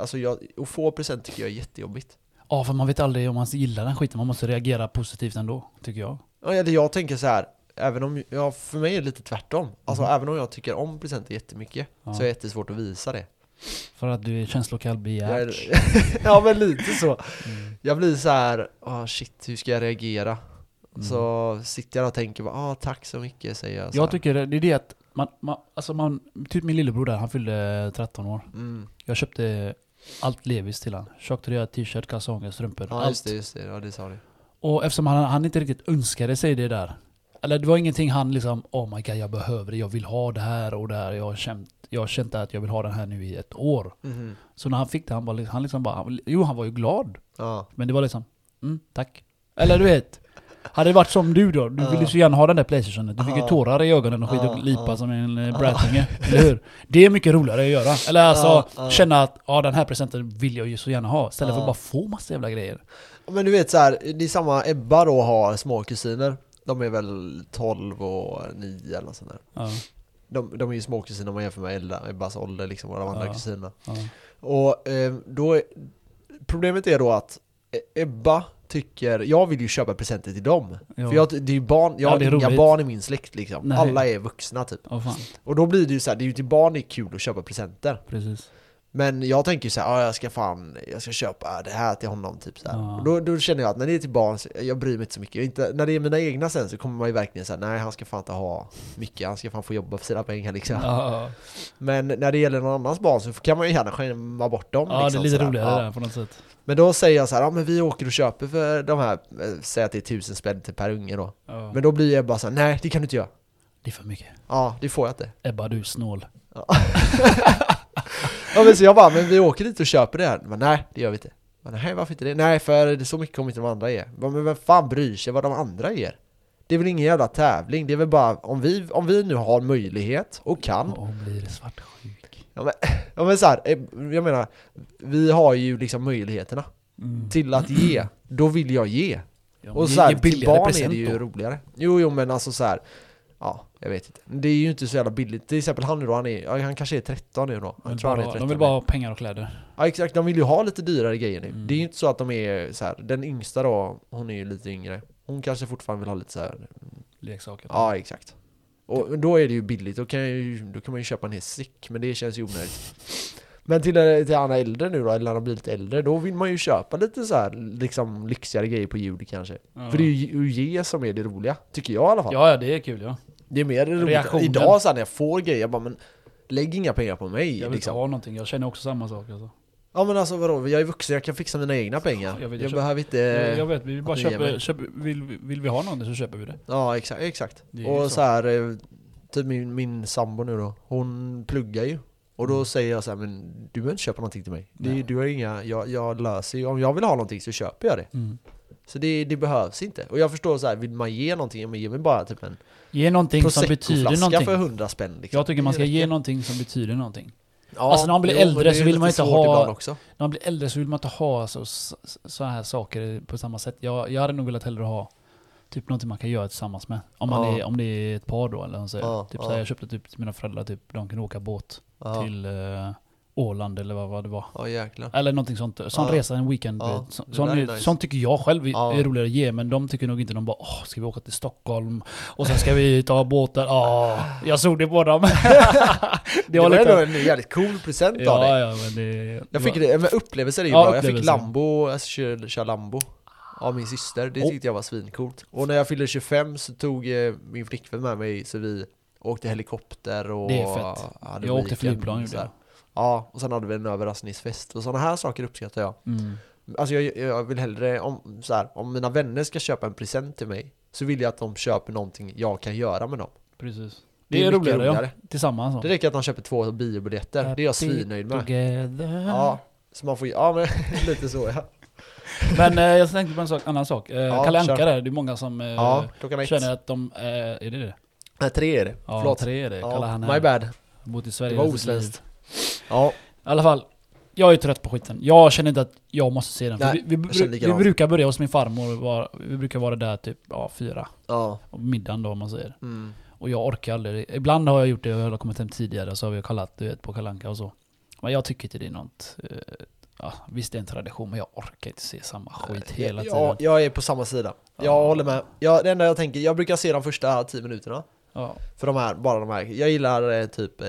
[SPEAKER 1] alltså jag, att få present tycker jag är jättejobbigt.
[SPEAKER 2] Ja, för man vet aldrig om man gillar den skiten. Man måste reagera positivt ändå, tycker jag.
[SPEAKER 1] Ja, Eller jag tänker så här, även om, ja, för mig är det lite tvärtom. Alltså även om jag tycker om presenter jättemycket
[SPEAKER 2] Mm. Ja.
[SPEAKER 1] så är det jättesvårt att visa det.
[SPEAKER 2] För att du är känslokall Mm.
[SPEAKER 1] Jag
[SPEAKER 2] begär.
[SPEAKER 1] är, ja men lite så. Jag blir så här, ah shit hur ska jag reagera? Mm. Så sitter jag och tänker bara, ah tack så mycket säger jag. Så
[SPEAKER 2] Jag
[SPEAKER 1] här.
[SPEAKER 2] tycker det det är det att man, man, alltså man, typ min lillebror där, han fyllde 13 år.
[SPEAKER 1] mm.
[SPEAKER 2] Jag köpte allt Levis till han. Tjockt röd t-shirt, kalsonger, strumpor.
[SPEAKER 1] Ja just
[SPEAKER 2] allt.
[SPEAKER 1] det, just det, ja det sa du.
[SPEAKER 2] Och eftersom han, han inte riktigt önskade sig det där. Eller det var ingenting han liksom, oh my god jag behöver det, jag vill ha det här och det här. Jag har känt, jag har känt att jag vill ha den här nu i ett år.
[SPEAKER 1] Mhm.
[SPEAKER 2] Så när han fick det, han, var, liksom- han liksom bara, han, jo han var ju glad.
[SPEAKER 1] Ja.
[SPEAKER 2] Men det var liksom, mm, tack. Eller du vet. Hade det varit som du då, du ville så gärna ha den där Playstationen. Du fick ju
[SPEAKER 1] Ja.
[SPEAKER 2] tårar i ögonen och skit och
[SPEAKER 1] Ja,
[SPEAKER 2] lipa
[SPEAKER 1] ja.
[SPEAKER 2] som en uh, brattinge. Eller hur? Det är mycket roligare att göra. Eller alltså
[SPEAKER 1] Ja, ja.
[SPEAKER 2] känna att ja, den här presenten vill jag ju så gärna ha. Istället för
[SPEAKER 1] Ja.
[SPEAKER 2] att bara få massa jävla grejer.
[SPEAKER 1] Men du vet så här, det är samma Ebba då har småkusiner. De är väl 12 och 9 eller något sånt där.
[SPEAKER 2] Ja,
[SPEAKER 1] De, de är ju småkusiner om man jämför med Ella, Ebbas ålder liksom, och de andra
[SPEAKER 2] Ja.
[SPEAKER 1] kusinerna.
[SPEAKER 2] ja.
[SPEAKER 1] Och eh, då, är- problemet är då att E- Ebba tycker, jag vill ju köpa presenter till dem.
[SPEAKER 2] Ja.
[SPEAKER 1] För jag, det är ju barn, jag
[SPEAKER 2] Ja,
[SPEAKER 1] har
[SPEAKER 2] det är
[SPEAKER 1] inga
[SPEAKER 2] roligt.
[SPEAKER 1] barn i min släkt liksom.
[SPEAKER 2] Nej.
[SPEAKER 1] Alla är vuxna typ.
[SPEAKER 2] Åh, fan.
[SPEAKER 1] Och då blir det ju så här, det är ju till barn det är kul att köpa presenter.
[SPEAKER 2] Precis.
[SPEAKER 1] Men jag tänker så här, ah, jag ska fan, jag ska köpa det här till honom typ så här.
[SPEAKER 2] Ja.
[SPEAKER 1] Och då, då känner jag att när det är till barn, så, jag bryr mig inte så mycket. Inte, när det är mina egna sen så kommer man ju verkligen säga nej han ska fan inte ha mycket, han ska fan få jobba för sina pengar liksom.
[SPEAKER 2] Ja, ja,
[SPEAKER 1] Men när det gäller någon annans barn så kan man ju gärna skämma bort dem.
[SPEAKER 2] ja. ja det
[SPEAKER 1] liksom,
[SPEAKER 2] är lite
[SPEAKER 1] sådär.
[SPEAKER 2] roligare
[SPEAKER 1] Ja.
[SPEAKER 2] där på något sätt.
[SPEAKER 1] Men då säger jag så här, ja men vi åker och köper för de här, eh, säg att det är tusen spänn till per unge då.
[SPEAKER 2] Ja.
[SPEAKER 1] Men då blir jag bara så här, nej det kan du inte göra.
[SPEAKER 2] Det är för mycket.
[SPEAKER 1] Ja, det får jag inte.
[SPEAKER 2] Ebba, du är snål.
[SPEAKER 1] Ja men så jag bara, men vi åker dit och köper det här. Men nej, det gör vi inte. Men nej, varför inte det? Nej, för det är så mycket kommer inte de andra ge. Bara, Men vem fan bryr sig vad de andra ger? Det är väl ingen jävla tävling, det är väl bara om vi, om vi nu har möjlighet och kan.
[SPEAKER 2] Och hon blir svartsjuk.
[SPEAKER 1] Ja men så här, eh, jag menar, vi har ju liksom möjligheterna
[SPEAKER 2] Mm.
[SPEAKER 1] till att ge. Då vill jag ge.
[SPEAKER 2] Ja, men
[SPEAKER 1] Och
[SPEAKER 2] ge-
[SPEAKER 1] så här,
[SPEAKER 2] ge
[SPEAKER 1] till
[SPEAKER 2] billigare
[SPEAKER 1] barn är
[SPEAKER 2] present
[SPEAKER 1] det ju
[SPEAKER 2] då.
[SPEAKER 1] roligare. Jo, jo, men alltså så här. Ja, jag vet inte. Det är ju inte så jävla billigt. Till exempel han nu då, han, är, ja, han kanske är 13 nu då.
[SPEAKER 2] De
[SPEAKER 1] Jag
[SPEAKER 2] vill
[SPEAKER 1] tror han är
[SPEAKER 2] bara-
[SPEAKER 1] 13
[SPEAKER 2] De vill
[SPEAKER 1] nu.
[SPEAKER 2] bara ha pengar och kläder.
[SPEAKER 1] Ja exakt, de vill ju ha lite dyrare grejer nu.
[SPEAKER 2] Mm.
[SPEAKER 1] Det är ju inte så att de är så här, den yngsta då, hon är ju lite yngre. Hon kanske fortfarande vill ha lite så här.
[SPEAKER 2] Leksaker.
[SPEAKER 1] ja exakt. Och då är det ju billigt, då kan, jag ju, då kan man ju köpa en hel säck, men det känns ju onödigt. Men till, till andra äldre nu då, eller när de blir lite äldre, då vill man ju köpa lite så här, liksom lyxigare grejer på jul kanske.
[SPEAKER 2] Ja.
[SPEAKER 1] För det är ju att ge som är det roliga, tycker jag i alla fall.
[SPEAKER 2] Ja, ja, det är kul ja.
[SPEAKER 1] Det är mer det roliga.
[SPEAKER 2] Reaktionen.
[SPEAKER 1] Idag så här, när jag får grejer, jag bara men lägg inga pengar på mig.
[SPEAKER 2] Jag
[SPEAKER 1] liksom.
[SPEAKER 2] vill inte ha någonting, jag känner också samma sak alltså.
[SPEAKER 1] Ja men alltså vadå, jag är vuxen, jag kan fixa mina egna pengar.
[SPEAKER 2] Ja,
[SPEAKER 1] jag
[SPEAKER 2] jag vet, jag köper-
[SPEAKER 1] behöver inte...
[SPEAKER 2] jag, jag vet, vi bara
[SPEAKER 1] Eh, att du ger mig.
[SPEAKER 2] köper, köper vill, vill vi ha någonting så köper vi det.
[SPEAKER 1] Ja exakt, exakt.
[SPEAKER 2] Det är ju
[SPEAKER 1] Och
[SPEAKER 2] så.
[SPEAKER 1] så här, eh, typ min, min sambo nu då, hon pluggar ju. Och då säger jag så här, men du behöver inte köpa någonting till mig. Det,
[SPEAKER 2] Mm. Nej.
[SPEAKER 1] du har inga, jag, jag löser ju, om jag vill ha någonting så köper jag det.
[SPEAKER 2] Mm.
[SPEAKER 1] Så det, det behövs inte. Och jag förstår så här, vill man ge någonting, ja, men ge mig bara typ en
[SPEAKER 2] Ge någonting som betyder
[SPEAKER 1] proseccoflaska
[SPEAKER 2] någonting.
[SPEAKER 1] för 100 spänn. Liksom.
[SPEAKER 2] Jag tycker man
[SPEAKER 1] Det
[SPEAKER 2] ska ge
[SPEAKER 1] räcker.
[SPEAKER 2] någonting som betyder någonting.
[SPEAKER 1] Ja,
[SPEAKER 2] alltså, när man blir
[SPEAKER 1] jo, men
[SPEAKER 2] äldre
[SPEAKER 1] det är
[SPEAKER 2] så vill
[SPEAKER 1] lite
[SPEAKER 2] man inte
[SPEAKER 1] svårt
[SPEAKER 2] ha-
[SPEAKER 1] ibland Också.
[SPEAKER 2] När man blir äldre så vill man inte ha så, så, så här saker på samma sätt. Jag, jag hade nog velat hellre ha typ någonting man kan göra tillsammans med. Om, man
[SPEAKER 1] Ja.
[SPEAKER 2] är, om det är ett par då eller så.
[SPEAKER 1] Ja,
[SPEAKER 2] typ
[SPEAKER 1] ja.
[SPEAKER 2] så här, jag köpte typ till mina föräldrar, typ, de kunde åka båt
[SPEAKER 1] Ja,
[SPEAKER 2] till eh, Åland eller vad, vad det var.
[SPEAKER 1] ja jäklar.
[SPEAKER 2] Eller någonting sånt. Sån
[SPEAKER 1] Ja.
[SPEAKER 2] resa, en weekend.
[SPEAKER 1] Ja,
[SPEAKER 2] Så,
[SPEAKER 1] det
[SPEAKER 2] sån,
[SPEAKER 1] där är
[SPEAKER 2] är,
[SPEAKER 1] nice.
[SPEAKER 2] sånt tycker jag själv är,
[SPEAKER 1] Ja.
[SPEAKER 2] är roligare att ge, men de tycker nog inte de bara Åh, ska vi åka till Stockholm? Och sen ska vi ta båtar? Ja, jag såg det på dem.
[SPEAKER 1] Det var ändå en jävligt cool present av dig.
[SPEAKER 2] Ja, ja, men det...
[SPEAKER 1] Jag fick det, men upplevelser är ju
[SPEAKER 2] Ja,
[SPEAKER 1] bra. Jag fick
[SPEAKER 2] upplevelser.
[SPEAKER 1] Lambo, alltså kör, kör Lambo av min syster. Det
[SPEAKER 2] Oh.
[SPEAKER 1] tyckte jag var svincoolt. Och när jag fyllde 25 så tog eh, min flickvän med mig så vi åkte helikopter och...
[SPEAKER 2] Det är fett.
[SPEAKER 1] hade
[SPEAKER 2] Jag åkte
[SPEAKER 1] weekend,
[SPEAKER 2] flygplan,
[SPEAKER 1] så
[SPEAKER 2] gjorde
[SPEAKER 1] här.
[SPEAKER 2] jag.
[SPEAKER 1] Ja, och sen hade vi en överraskningsfest och sådana här saker uppskattar jag.
[SPEAKER 2] Mm.
[SPEAKER 1] Alltså jag, jag vill hellre, om, så här, om mina vänner ska köpa en present till mig så vill jag att de köper någonting jag kan göra med dem.
[SPEAKER 2] Precis.
[SPEAKER 1] Det
[SPEAKER 2] Det,
[SPEAKER 1] är
[SPEAKER 2] är
[SPEAKER 1] mycket
[SPEAKER 2] roligare,
[SPEAKER 1] roligare.
[SPEAKER 2] ja. Tillsammans. alltså.
[SPEAKER 1] Det räcker att de köper två biobiljetter, det är jag svinnöjd med.
[SPEAKER 2] Together.
[SPEAKER 1] Ja, Så man får, ja men lite så ja.
[SPEAKER 2] Men eh, jag tänkte på en sak, annan sak. Eh,
[SPEAKER 1] Ja,
[SPEAKER 2] Kalle Anka
[SPEAKER 1] kör.
[SPEAKER 2] där, det är många som eh,
[SPEAKER 1] Ja, klockan är ett.
[SPEAKER 2] känner att de... Eh, är det det?
[SPEAKER 1] Nej, tre är det.
[SPEAKER 2] Ja,
[SPEAKER 1] Förlåt.
[SPEAKER 2] tre är det. Kalle
[SPEAKER 1] Ja,
[SPEAKER 2] han
[SPEAKER 1] my
[SPEAKER 2] är,
[SPEAKER 1] bad.
[SPEAKER 2] bott i
[SPEAKER 1] Det
[SPEAKER 2] Sverige.
[SPEAKER 1] var
[SPEAKER 2] hela sitt liv.
[SPEAKER 1] osvenskt. Ja,
[SPEAKER 2] I alla fall, jag är trött på skiten. Jag känner inte att jag måste se den. För
[SPEAKER 1] Nej,
[SPEAKER 2] vi, vi,
[SPEAKER 1] jag känner
[SPEAKER 2] bru- vi
[SPEAKER 1] likadant.
[SPEAKER 2] brukar börja hos min farmor, och vara, vi brukar vara där typ ja, fyra.
[SPEAKER 1] ja.
[SPEAKER 2] På middagen då om man säger.
[SPEAKER 1] Mm.
[SPEAKER 2] Och jag orkar aldrig. Ibland har jag gjort det, jag har kommit hem tidigare så har vi kollat du vet, på Kalle Anka och så. Men jag tycker inte det är något... Eh, ja, visst det är en tradition, men jag orkar inte se samma skit hela tiden.
[SPEAKER 1] Ja, jag är på samma sida. Jag
[SPEAKER 2] Ja.
[SPEAKER 1] håller med. Jag, det enda jag tänker, jag brukar se de första tio minuterna.
[SPEAKER 2] Ja,
[SPEAKER 1] För de här, bara de här. Jag gillar eh, typ eh,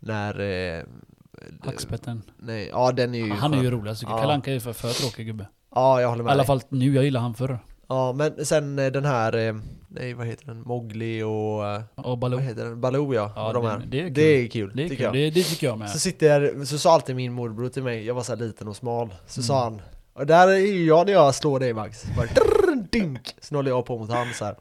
[SPEAKER 1] när... Eh,
[SPEAKER 2] Hackspetten.
[SPEAKER 1] nej, ja den är ju
[SPEAKER 2] Han är
[SPEAKER 1] skön.
[SPEAKER 2] ju roligast tycker jag.
[SPEAKER 1] Ja.
[SPEAKER 2] Kalle Anka är ju för, för tråkig gubbe.
[SPEAKER 1] Ja, jag håller
[SPEAKER 2] I
[SPEAKER 1] med
[SPEAKER 2] alla
[SPEAKER 1] dig.
[SPEAKER 2] fall nu, jag gillar han förr.
[SPEAKER 1] Ja, men sen eh, den här, eh, nej vad heter den, Mowgli och... eh,
[SPEAKER 2] Och
[SPEAKER 1] Vad
[SPEAKER 2] Baloo.
[SPEAKER 1] heter den? Baloo ja,
[SPEAKER 2] Ja,
[SPEAKER 1] och de
[SPEAKER 2] det-
[SPEAKER 1] här.
[SPEAKER 2] det är kul.
[SPEAKER 1] kul,
[SPEAKER 2] Det, är
[SPEAKER 1] tycker
[SPEAKER 2] kul.
[SPEAKER 1] jag.
[SPEAKER 2] Det, det tycker jag med.
[SPEAKER 1] Så sitter, så sa alltid min morbror till mig, jag var så här liten och smal, så sa han Och där är ju jag när jag slår dig Max, bara drrrr, dink! Sen håller jag på mot han så här.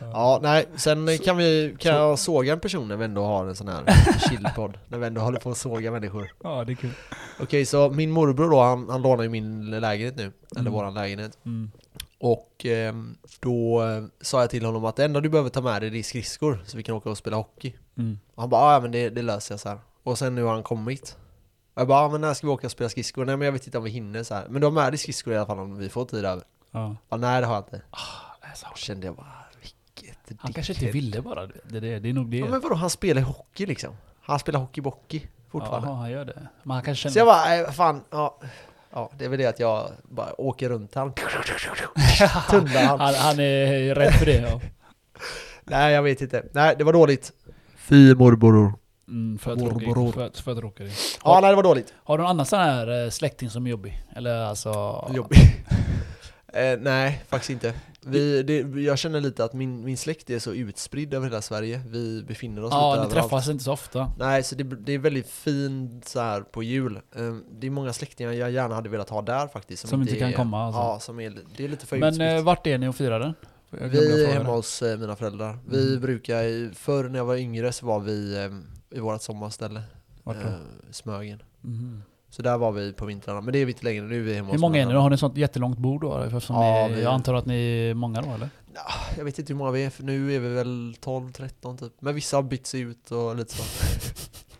[SPEAKER 1] Ja, nej, sen kan vi, kan jag såga en person när vi ändå har en sån här chillpodd När vi ändå håller på att såga människor
[SPEAKER 2] Ja, det är kul.
[SPEAKER 1] Okej, så min morbror då, han, han lånar ju min lägenhet nu, eller
[SPEAKER 2] Mm.
[SPEAKER 1] våran lägenhet
[SPEAKER 2] Mm.
[SPEAKER 1] Och ehm, då eh, sa jag till honom att det enda du behöver ta med dig det är skridskor, så vi kan åka och spela hockey
[SPEAKER 2] Mm.
[SPEAKER 1] och han bara, "Ah, ja men det, det löser jag så här. Och sen nu har han kommit. Och jag bara, "Ah, men när ska vi åka och spela skridskor? Nej men jag vet inte om vi hinner så här. Men de är i skridskor i alla fall om vi får tid över.
[SPEAKER 2] Ja.
[SPEAKER 1] Ja, nej det har jag inte.
[SPEAKER 2] Alltså,
[SPEAKER 1] Då kände jag bara, vilket
[SPEAKER 2] han
[SPEAKER 1] dickhead."
[SPEAKER 2] kanske inte ville bara det. Det, det, det är nog det.
[SPEAKER 1] Ja men vadå, han spelar ju hockey liksom. Han spelar hockey-bockey fortfarande.
[SPEAKER 2] Jaha, han gör det. Men han kanske
[SPEAKER 1] Så jag
[SPEAKER 2] känner...
[SPEAKER 1] bara, "Nej, fan, ja. Ja, det är väl det att jag bara åker runt han. Tunnlar han.
[SPEAKER 2] Han, han är rädd för det. Ja.
[SPEAKER 1] Nej jag vet inte. Nej det var dåligt. Fy morbror.
[SPEAKER 2] Mm, för
[SPEAKER 1] Bror,
[SPEAKER 2] tråkig.
[SPEAKER 1] bror.
[SPEAKER 2] För, för tråkig.
[SPEAKER 1] Ja nej det var dåligt.
[SPEAKER 2] Har du någon annan sån här eh, släkting som är jobbig? Eller alltså...
[SPEAKER 1] Jobbig. eh, nej, faktiskt inte. Vi, det, jag känner lite att min, min släkt är så utspridd över hela Sverige. Vi befinner oss
[SPEAKER 2] Ja,
[SPEAKER 1] lite
[SPEAKER 2] ni
[SPEAKER 1] överallt.
[SPEAKER 2] träffas inte så ofta.
[SPEAKER 1] Nej, så det, det är väldigt fint så här på jul. Eh, det är många släktingar jag gärna hade velat ha där faktiskt.
[SPEAKER 2] Som inte kan
[SPEAKER 1] är,
[SPEAKER 2] komma, alltså.
[SPEAKER 1] Ja, som är, det är lite för
[SPEAKER 2] Men
[SPEAKER 1] utspritt.
[SPEAKER 2] eh, vart är ni och firar den? Jag glömde
[SPEAKER 1] vi är
[SPEAKER 2] fråga
[SPEAKER 1] hemma
[SPEAKER 2] det. Mm.
[SPEAKER 1] hos eh, mina föräldrar. Vi brukar, i- förr när jag var yngre så var vi eh, i vårt sommarställe,
[SPEAKER 2] Vart då?
[SPEAKER 1] eh, Smögen.
[SPEAKER 2] Mhm.
[SPEAKER 1] Så där var vi på vintrarna, men det är vi inte längre. Nu är vi hemma
[SPEAKER 2] Hur
[SPEAKER 1] hos
[SPEAKER 2] många är ni
[SPEAKER 1] mina
[SPEAKER 2] då? Har ni sånt jättelångt bord då? Eftersom
[SPEAKER 1] Ja,
[SPEAKER 2] ni,
[SPEAKER 1] vi-
[SPEAKER 2] Jag antar att ni är många då eller?
[SPEAKER 1] Jag vet inte hur många vi är, för nu är vi väl 12-13 typ. Men vissa har bytt sig ut och lite så.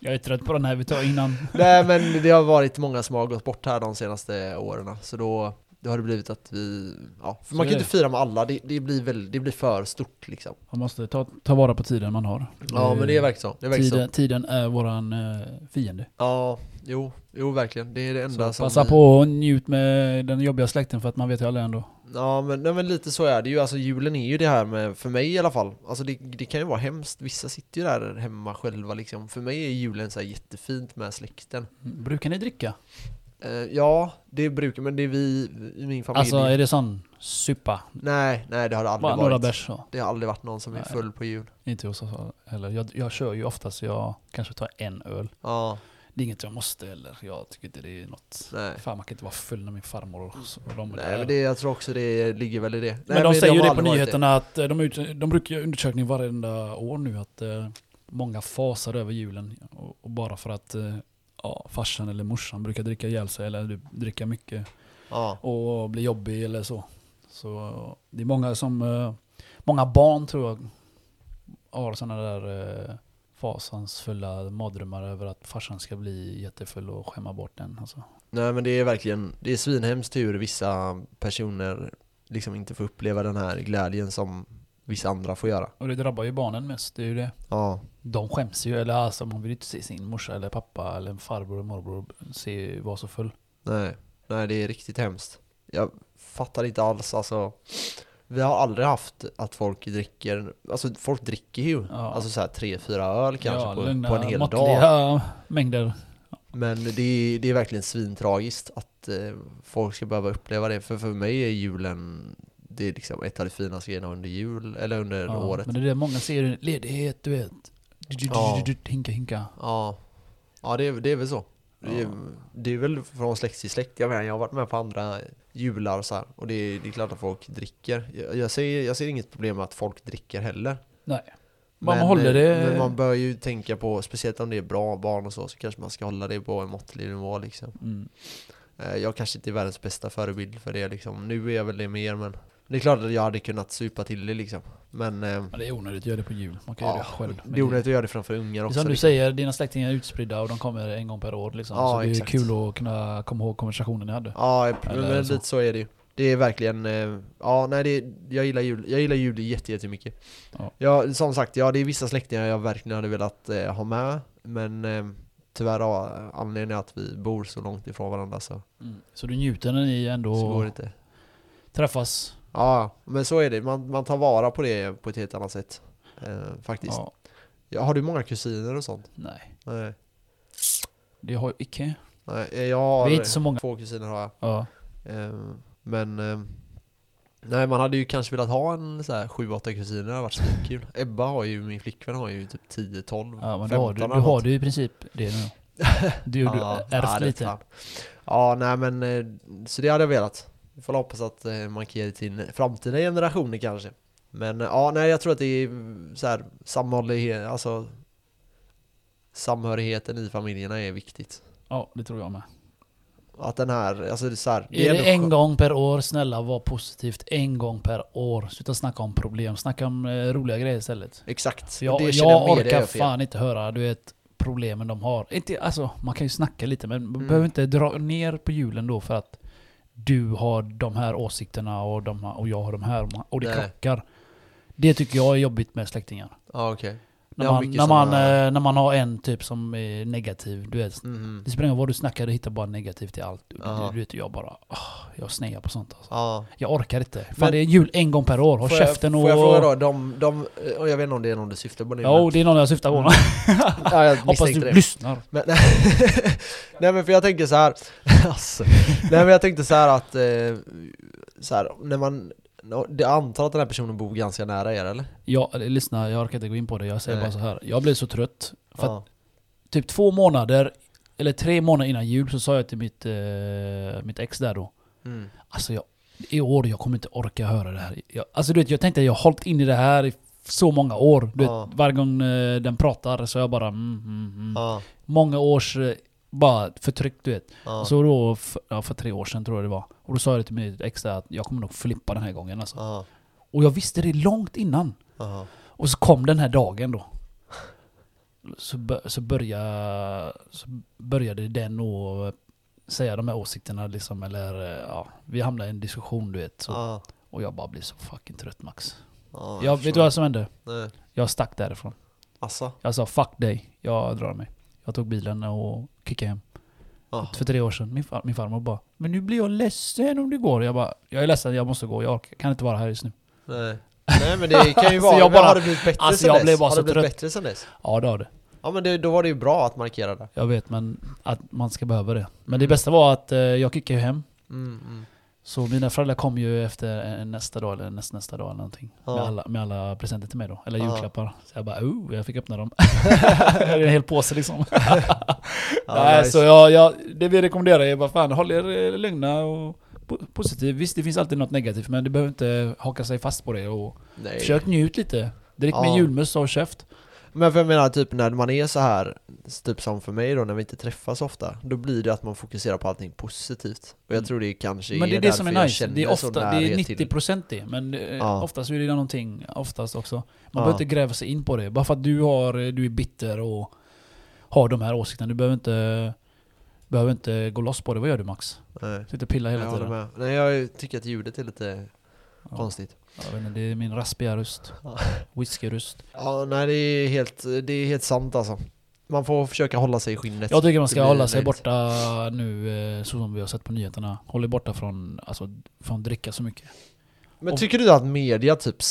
[SPEAKER 2] Jag är trött på den här vi tar innan.
[SPEAKER 1] Nej men det har varit många som har gått bort här de senaste åren. Så då, då har det blivit att vi, ja. För
[SPEAKER 2] Så
[SPEAKER 1] man kan
[SPEAKER 2] är
[SPEAKER 1] ju inte fira med alla, det, det, blir väl, det blir för stort liksom.
[SPEAKER 2] Man måste ta, ta vara på tiden man har.
[SPEAKER 1] Ja men det är verkligen så. Det är verkligen så.
[SPEAKER 2] tiden, tiden är våran eh, fiende.
[SPEAKER 1] Ja, jo, jo verkligen. Det är det enda
[SPEAKER 2] Så
[SPEAKER 1] som eh,
[SPEAKER 2] passa
[SPEAKER 1] vi-
[SPEAKER 2] på och njut med den jobbiga släkten för att man vet ju aldrig ändå.
[SPEAKER 1] Ja men, nej, men lite så är det ju, alltså julen är ju det här med, för mig i alla fall, alltså det, det kan ju vara hemskt, vissa sitter ju där hemma själva liksom. För mig är julen så här jättefint med släkten.
[SPEAKER 2] Mm, Brukar ni dricka?
[SPEAKER 1] Eh, ja, det brukar, men det är vi i min familj.
[SPEAKER 2] Alltså är det sån supa?
[SPEAKER 1] Nej, nej det har det aldrig
[SPEAKER 2] Bara några
[SPEAKER 1] varit.
[SPEAKER 2] bärs så.
[SPEAKER 1] Det har aldrig varit någon som är
[SPEAKER 2] Nej.
[SPEAKER 1] full på jul.
[SPEAKER 2] Inte hos oss heller. Jag, jag kör ju oftast, jag kanske tar en öl.
[SPEAKER 1] Ja,
[SPEAKER 2] Det är inget jag måste eller jag tycker inte det är något.
[SPEAKER 1] nej.
[SPEAKER 2] Fan man kan inte vara full när min farmor och så- och de är
[SPEAKER 1] Nej
[SPEAKER 2] där.
[SPEAKER 1] men det, jag tror också det ligger väl i det. Nej,
[SPEAKER 2] Mm. men de säger ju
[SPEAKER 1] har
[SPEAKER 2] det på
[SPEAKER 1] aldrig varit
[SPEAKER 2] nyheterna att eh, de, ut, de brukar göra undersökning varenda år nu att eh, många fasar över julen. Och, och bara för att eh, ja, farsan eller morsan brukar dricka ihjäl sig eller du- dricka mycket
[SPEAKER 1] Ja,
[SPEAKER 2] och bli jobbig eller så. Så eh, det är många som, eh, många barn tror jag har sådana där eh, fasansfulla mardrömmar över att farsan ska bli jättefull och skämma bort den. Alltså.
[SPEAKER 1] nej men det är verkligen, det är svinhemskt hur vissa personer liksom inte får uppleva den här glädjen som vissa andra får göra.
[SPEAKER 2] Och det drabbar ju barnen mest, det är ju det.
[SPEAKER 1] Ja,
[SPEAKER 2] De skäms ju, eller alltså man vill ju inte se sin morsa eller pappa eller farbror och morbror se vara så full.
[SPEAKER 1] nej, nej det är riktigt hemskt. Jag fattar inte alls alltså. Vi har aldrig haft att folk dricker, alltså folk dricker ju.
[SPEAKER 2] Ja.
[SPEAKER 1] Alltså såhär tre, fyra öl kanske
[SPEAKER 2] Ja,
[SPEAKER 1] på,
[SPEAKER 2] lugna,
[SPEAKER 1] på en hel dag.
[SPEAKER 2] måttliga mängder.
[SPEAKER 1] Men det är, det är verkligen svintragiskt att eh, folk ska behöva uppleva det. För för mig är julen, det är liksom ett av de finaste grejerna under jul, eller under
[SPEAKER 2] Ja,
[SPEAKER 1] året.
[SPEAKER 2] Men det är det många ser, ledighet du vet.
[SPEAKER 1] Ja.
[SPEAKER 2] Hinka hinka.
[SPEAKER 1] Ja, ja det, är, det är väl så. Det, är,
[SPEAKER 2] Ja.
[SPEAKER 1] det är väl från släkt till släkt. Jag menar, jag har varit med på andra jular och så här. Och det är, det är klart att folk dricker. Jag, jag, ser, jag ser inget problem med att folk dricker heller.
[SPEAKER 2] Nej. Bara man håller det-
[SPEAKER 1] men man bör ju tänka på, speciellt om det är bra barn och så, så kanske man ska hålla det på en måttlig nivå liksom.
[SPEAKER 2] Mm.
[SPEAKER 1] Eh, Jag kanske inte är världens bästa förebild för det liksom. Nu är jag väl det mer men det är klart att jag hade kunnat supa till det liksom. Men eh,
[SPEAKER 2] Ja, det är onödigt, gör det på jul. Man kan göra
[SPEAKER 1] ja,
[SPEAKER 2] det själv. Men
[SPEAKER 1] det är onödigt att göra det framför ungar
[SPEAKER 2] det är
[SPEAKER 1] också.
[SPEAKER 2] som du
[SPEAKER 1] liksom.
[SPEAKER 2] säger, dina släktingar är utspridda och de kommer en gång per år. Liksom.
[SPEAKER 1] Ja,
[SPEAKER 2] så det är
[SPEAKER 1] exakt.
[SPEAKER 2] kul att kunna komma ihåg konversationen ni hade.
[SPEAKER 1] Ja, men
[SPEAKER 2] Eller så.
[SPEAKER 1] lite så är det ju. Det är verkligen, eh, ja nej det, jag gillar jul, jag gillar jul jätte- jättemycket.
[SPEAKER 2] Ja.
[SPEAKER 1] Ja, som sagt, ja det är vissa släktingar jag verkligen hade velat eh, ha med, men eh, tyvärr av anledningen att vi bor så långt ifrån varandra så,
[SPEAKER 2] Mm. Så du njuter när ni
[SPEAKER 1] så går
[SPEAKER 2] ändå
[SPEAKER 1] det inte.
[SPEAKER 2] träffas.
[SPEAKER 1] Ja, men så är det, man, man tar vara på det på ett helt annat sätt. Eh, faktiskt. Ja.
[SPEAKER 2] Ja,
[SPEAKER 1] har du många kusiner och sånt?
[SPEAKER 2] nej,
[SPEAKER 1] Nej.
[SPEAKER 2] det har jag icke.
[SPEAKER 1] Nej, eh, jag har
[SPEAKER 2] Vi är inte så många.
[SPEAKER 1] två kusiner har jag.
[SPEAKER 2] Ja.
[SPEAKER 1] Eh, men eh, Nej man hade ju kanske velat ha en så här 7-8 kusiner, det hade varit svinkul. Ebba har ju, min flickvän har ju typ 10-12,
[SPEAKER 2] Ja,
[SPEAKER 1] 15
[SPEAKER 2] men då har du, du
[SPEAKER 1] eller
[SPEAKER 2] har
[SPEAKER 1] något.
[SPEAKER 2] du i princip det nu. Du, du
[SPEAKER 1] Ja, ja,
[SPEAKER 2] ärvt
[SPEAKER 1] det är
[SPEAKER 2] lite.
[SPEAKER 1] fan. Ja nej men, eh, så det hade jag velat. Vi får hoppas att eh, man kan ge det till framtida generationer kanske. Men eh, ja nej jag tror att det är mm, så här, samhörighet, alltså Samhörigheten i familjerna är viktigt.
[SPEAKER 2] Ja, det tror jag med.
[SPEAKER 1] Att den här, alltså det är så här,
[SPEAKER 2] Är
[SPEAKER 1] ändå
[SPEAKER 2] det en
[SPEAKER 1] skö-
[SPEAKER 2] gång per år, snälla var positivt. En gång per år. Sluta snacka om problem, snacka om eh, roliga grejer istället.
[SPEAKER 1] Exakt,
[SPEAKER 2] Jag,
[SPEAKER 1] det
[SPEAKER 2] jag,
[SPEAKER 1] känner jag med, det
[SPEAKER 2] orkar
[SPEAKER 1] är fel.
[SPEAKER 2] fan inte höra, du vet, problemen de har. Inte, alltså, man kan ju snacka lite men man
[SPEAKER 1] Mm.
[SPEAKER 2] behöver inte dra ner på hjulen då för att du har de här åsikterna och, de, här- och jag har de här och det
[SPEAKER 1] Nej.
[SPEAKER 2] krockar. Det tycker jag är jobbigt med släktingar.
[SPEAKER 1] Ja okej.
[SPEAKER 2] När
[SPEAKER 1] Jag har
[SPEAKER 2] man,
[SPEAKER 1] mycket
[SPEAKER 2] när, man,
[SPEAKER 1] såna-
[SPEAKER 2] eh, när man har en typ som är negativ, du vet.
[SPEAKER 1] Mhm.
[SPEAKER 2] Det spelar ingen roll vad du snackar, du hittar bara negativt till allt. Du,
[SPEAKER 1] Ja.
[SPEAKER 2] du, du vet, jag bara, ah, jag snear på sånt alltså.
[SPEAKER 1] Ja.
[SPEAKER 2] Jag orkar inte. Fan
[SPEAKER 1] Men-
[SPEAKER 2] det är jul en gång per år, håll
[SPEAKER 1] Får
[SPEAKER 2] käften
[SPEAKER 1] jag, Får
[SPEAKER 2] och...
[SPEAKER 1] jag fråga då, de, de, och jag vet inte om det är någon du syftar på nu
[SPEAKER 2] Jo, det är någon jag syftar på.
[SPEAKER 1] men, ja, jag
[SPEAKER 2] Hoppas
[SPEAKER 1] misstänkte
[SPEAKER 2] du
[SPEAKER 1] Mm, det.
[SPEAKER 2] lyssnar.
[SPEAKER 1] Men, nej men för jag tänker så här. alltså, nej men jag tänkte så här att, eh, så här, när man, det antar att den här personen bor ganska nära er eller?
[SPEAKER 2] Jag, eller, lyssna, jag orkar inte gå in på det. Jag säger
[SPEAKER 1] Nej.
[SPEAKER 2] bara så här. Jag blev så trött. För att
[SPEAKER 1] Ja.
[SPEAKER 2] typ två månader, eller tre månader innan jul så sa jag till mitt, eh, mitt ex där då.
[SPEAKER 1] Mm.
[SPEAKER 2] Alltså jag, i år jag kommer inte orka höra det här. Jag, alltså du vet, jag tänkte jag har hållit in i det här i så många år. Du
[SPEAKER 1] Ja.
[SPEAKER 2] vet, varje gång eh, den pratar så jag bara mm, mm, mm.
[SPEAKER 1] Ja.
[SPEAKER 2] Många års eh, bara förtryck du vet.
[SPEAKER 1] Ja.
[SPEAKER 2] Så då, för, ja, för tre år sedan tror jag det var. Och då sa jag till mitt ex där att jag kommer nog flippa den här gången alltså.
[SPEAKER 1] Ja.
[SPEAKER 2] Och jag visste det långt innan.
[SPEAKER 1] Ja.
[SPEAKER 2] Och så kom den här dagen då. Så, bör, så, började, så började den att säga de här åsikterna liksom, eller eh, ja, vi hamnade i en diskussion du vet. Så,
[SPEAKER 1] Ja.
[SPEAKER 2] Och jag bara blev så fucking trött Max.
[SPEAKER 1] Ja,
[SPEAKER 2] jag,
[SPEAKER 1] förstår.
[SPEAKER 2] vet du vad som hände?
[SPEAKER 1] Nej.
[SPEAKER 2] Jag stack därifrån.
[SPEAKER 1] Alltså,
[SPEAKER 2] Jag sa fuck dig, jag drar mig. Jag tog bilen och kickade hem.
[SPEAKER 1] ja.
[SPEAKER 2] För tre år sedan, min, far, min farmor bara Men nu blir jag ledsen om du går. Jag bara, jag är ledsen, jag måste gå. Jag orkar, kan inte vara här just nu.
[SPEAKER 1] nej. nej men det kan ju
[SPEAKER 2] Alltså,
[SPEAKER 1] vara,
[SPEAKER 2] jag
[SPEAKER 1] men
[SPEAKER 2] bara-
[SPEAKER 1] har det blivit bättre
[SPEAKER 2] Alltså,
[SPEAKER 1] sen
[SPEAKER 2] jag
[SPEAKER 1] dess?
[SPEAKER 2] blev bara
[SPEAKER 1] har
[SPEAKER 2] så
[SPEAKER 1] det blivit
[SPEAKER 2] trött.
[SPEAKER 1] bättre sen dess?
[SPEAKER 2] Ja det har det.
[SPEAKER 1] Ja men det, då var det ju bra att markera det.
[SPEAKER 2] Jag vet men att man ska behöva det. Men det bästa var att eh, jag kickade ju hem.
[SPEAKER 1] Mm, mm.
[SPEAKER 2] Så mina föräldrar kom ju efter eh, nästa dag eller näst, nästa dag eller någonting.
[SPEAKER 1] Ja.
[SPEAKER 2] Med, alla, med alla presenter till mig då. Eller
[SPEAKER 1] Ja.
[SPEAKER 2] julklappar. Så jag bara oh, jag fick öppna dem. det är en hel påse liksom.
[SPEAKER 1] Ja,
[SPEAKER 2] Nej,
[SPEAKER 1] nice.
[SPEAKER 2] så jag, jag, det vi rekommenderar är bara fan håll er eh, lugna och po- positiv. Visst det finns alltid något negativt men du behöver inte haka sig fast på det. Och
[SPEAKER 1] Nej.
[SPEAKER 2] försök njut lite. Drick
[SPEAKER 1] Ja.
[SPEAKER 2] med julmust och käft.
[SPEAKER 1] Men för jag menar typ när man är så här typ som för mig då när vi inte träffas ofta, då blir det att man fokuserar på allting positivt. Och jag
[SPEAKER 2] Mm.
[SPEAKER 1] tror det kanske
[SPEAKER 2] Men det är det som
[SPEAKER 1] därför
[SPEAKER 2] är
[SPEAKER 1] jag
[SPEAKER 2] nice. Det är,
[SPEAKER 1] känner så
[SPEAKER 2] ofta, det är
[SPEAKER 1] närhet till-
[SPEAKER 2] 90% det. Men
[SPEAKER 1] Ja.
[SPEAKER 2] ja. oftast är det någonting, oftast också. Man
[SPEAKER 1] Ja.
[SPEAKER 2] behöver inte gräva sig in på det. Bara för att du, har, eh, du är bitter och har de här åsikterna. Du behöver inte, behöver inte gå loss på det. Vad gör du Max?
[SPEAKER 1] Nej,
[SPEAKER 2] Sitter och pillar hela
[SPEAKER 1] jag håller
[SPEAKER 2] tiden.
[SPEAKER 1] med. Nej jag tycker att ljudet är lite
[SPEAKER 2] Ja.
[SPEAKER 1] konstigt.
[SPEAKER 2] Jag vet inte, det är min raspiga röst.
[SPEAKER 1] Ja.
[SPEAKER 2] Whiskyröst.
[SPEAKER 1] Ja nej det är helt, det är helt sant alltså. Man får försöka hålla sig i skinnet.
[SPEAKER 2] Jag tycker man ska
[SPEAKER 1] blir
[SPEAKER 2] hålla sig
[SPEAKER 1] löjligt.
[SPEAKER 2] borta nu, eh, så som vi har sett på nyheterna. Håll er borta från, alltså, från dricka så mycket.
[SPEAKER 1] Men
[SPEAKER 2] Och-
[SPEAKER 1] tycker du att media typ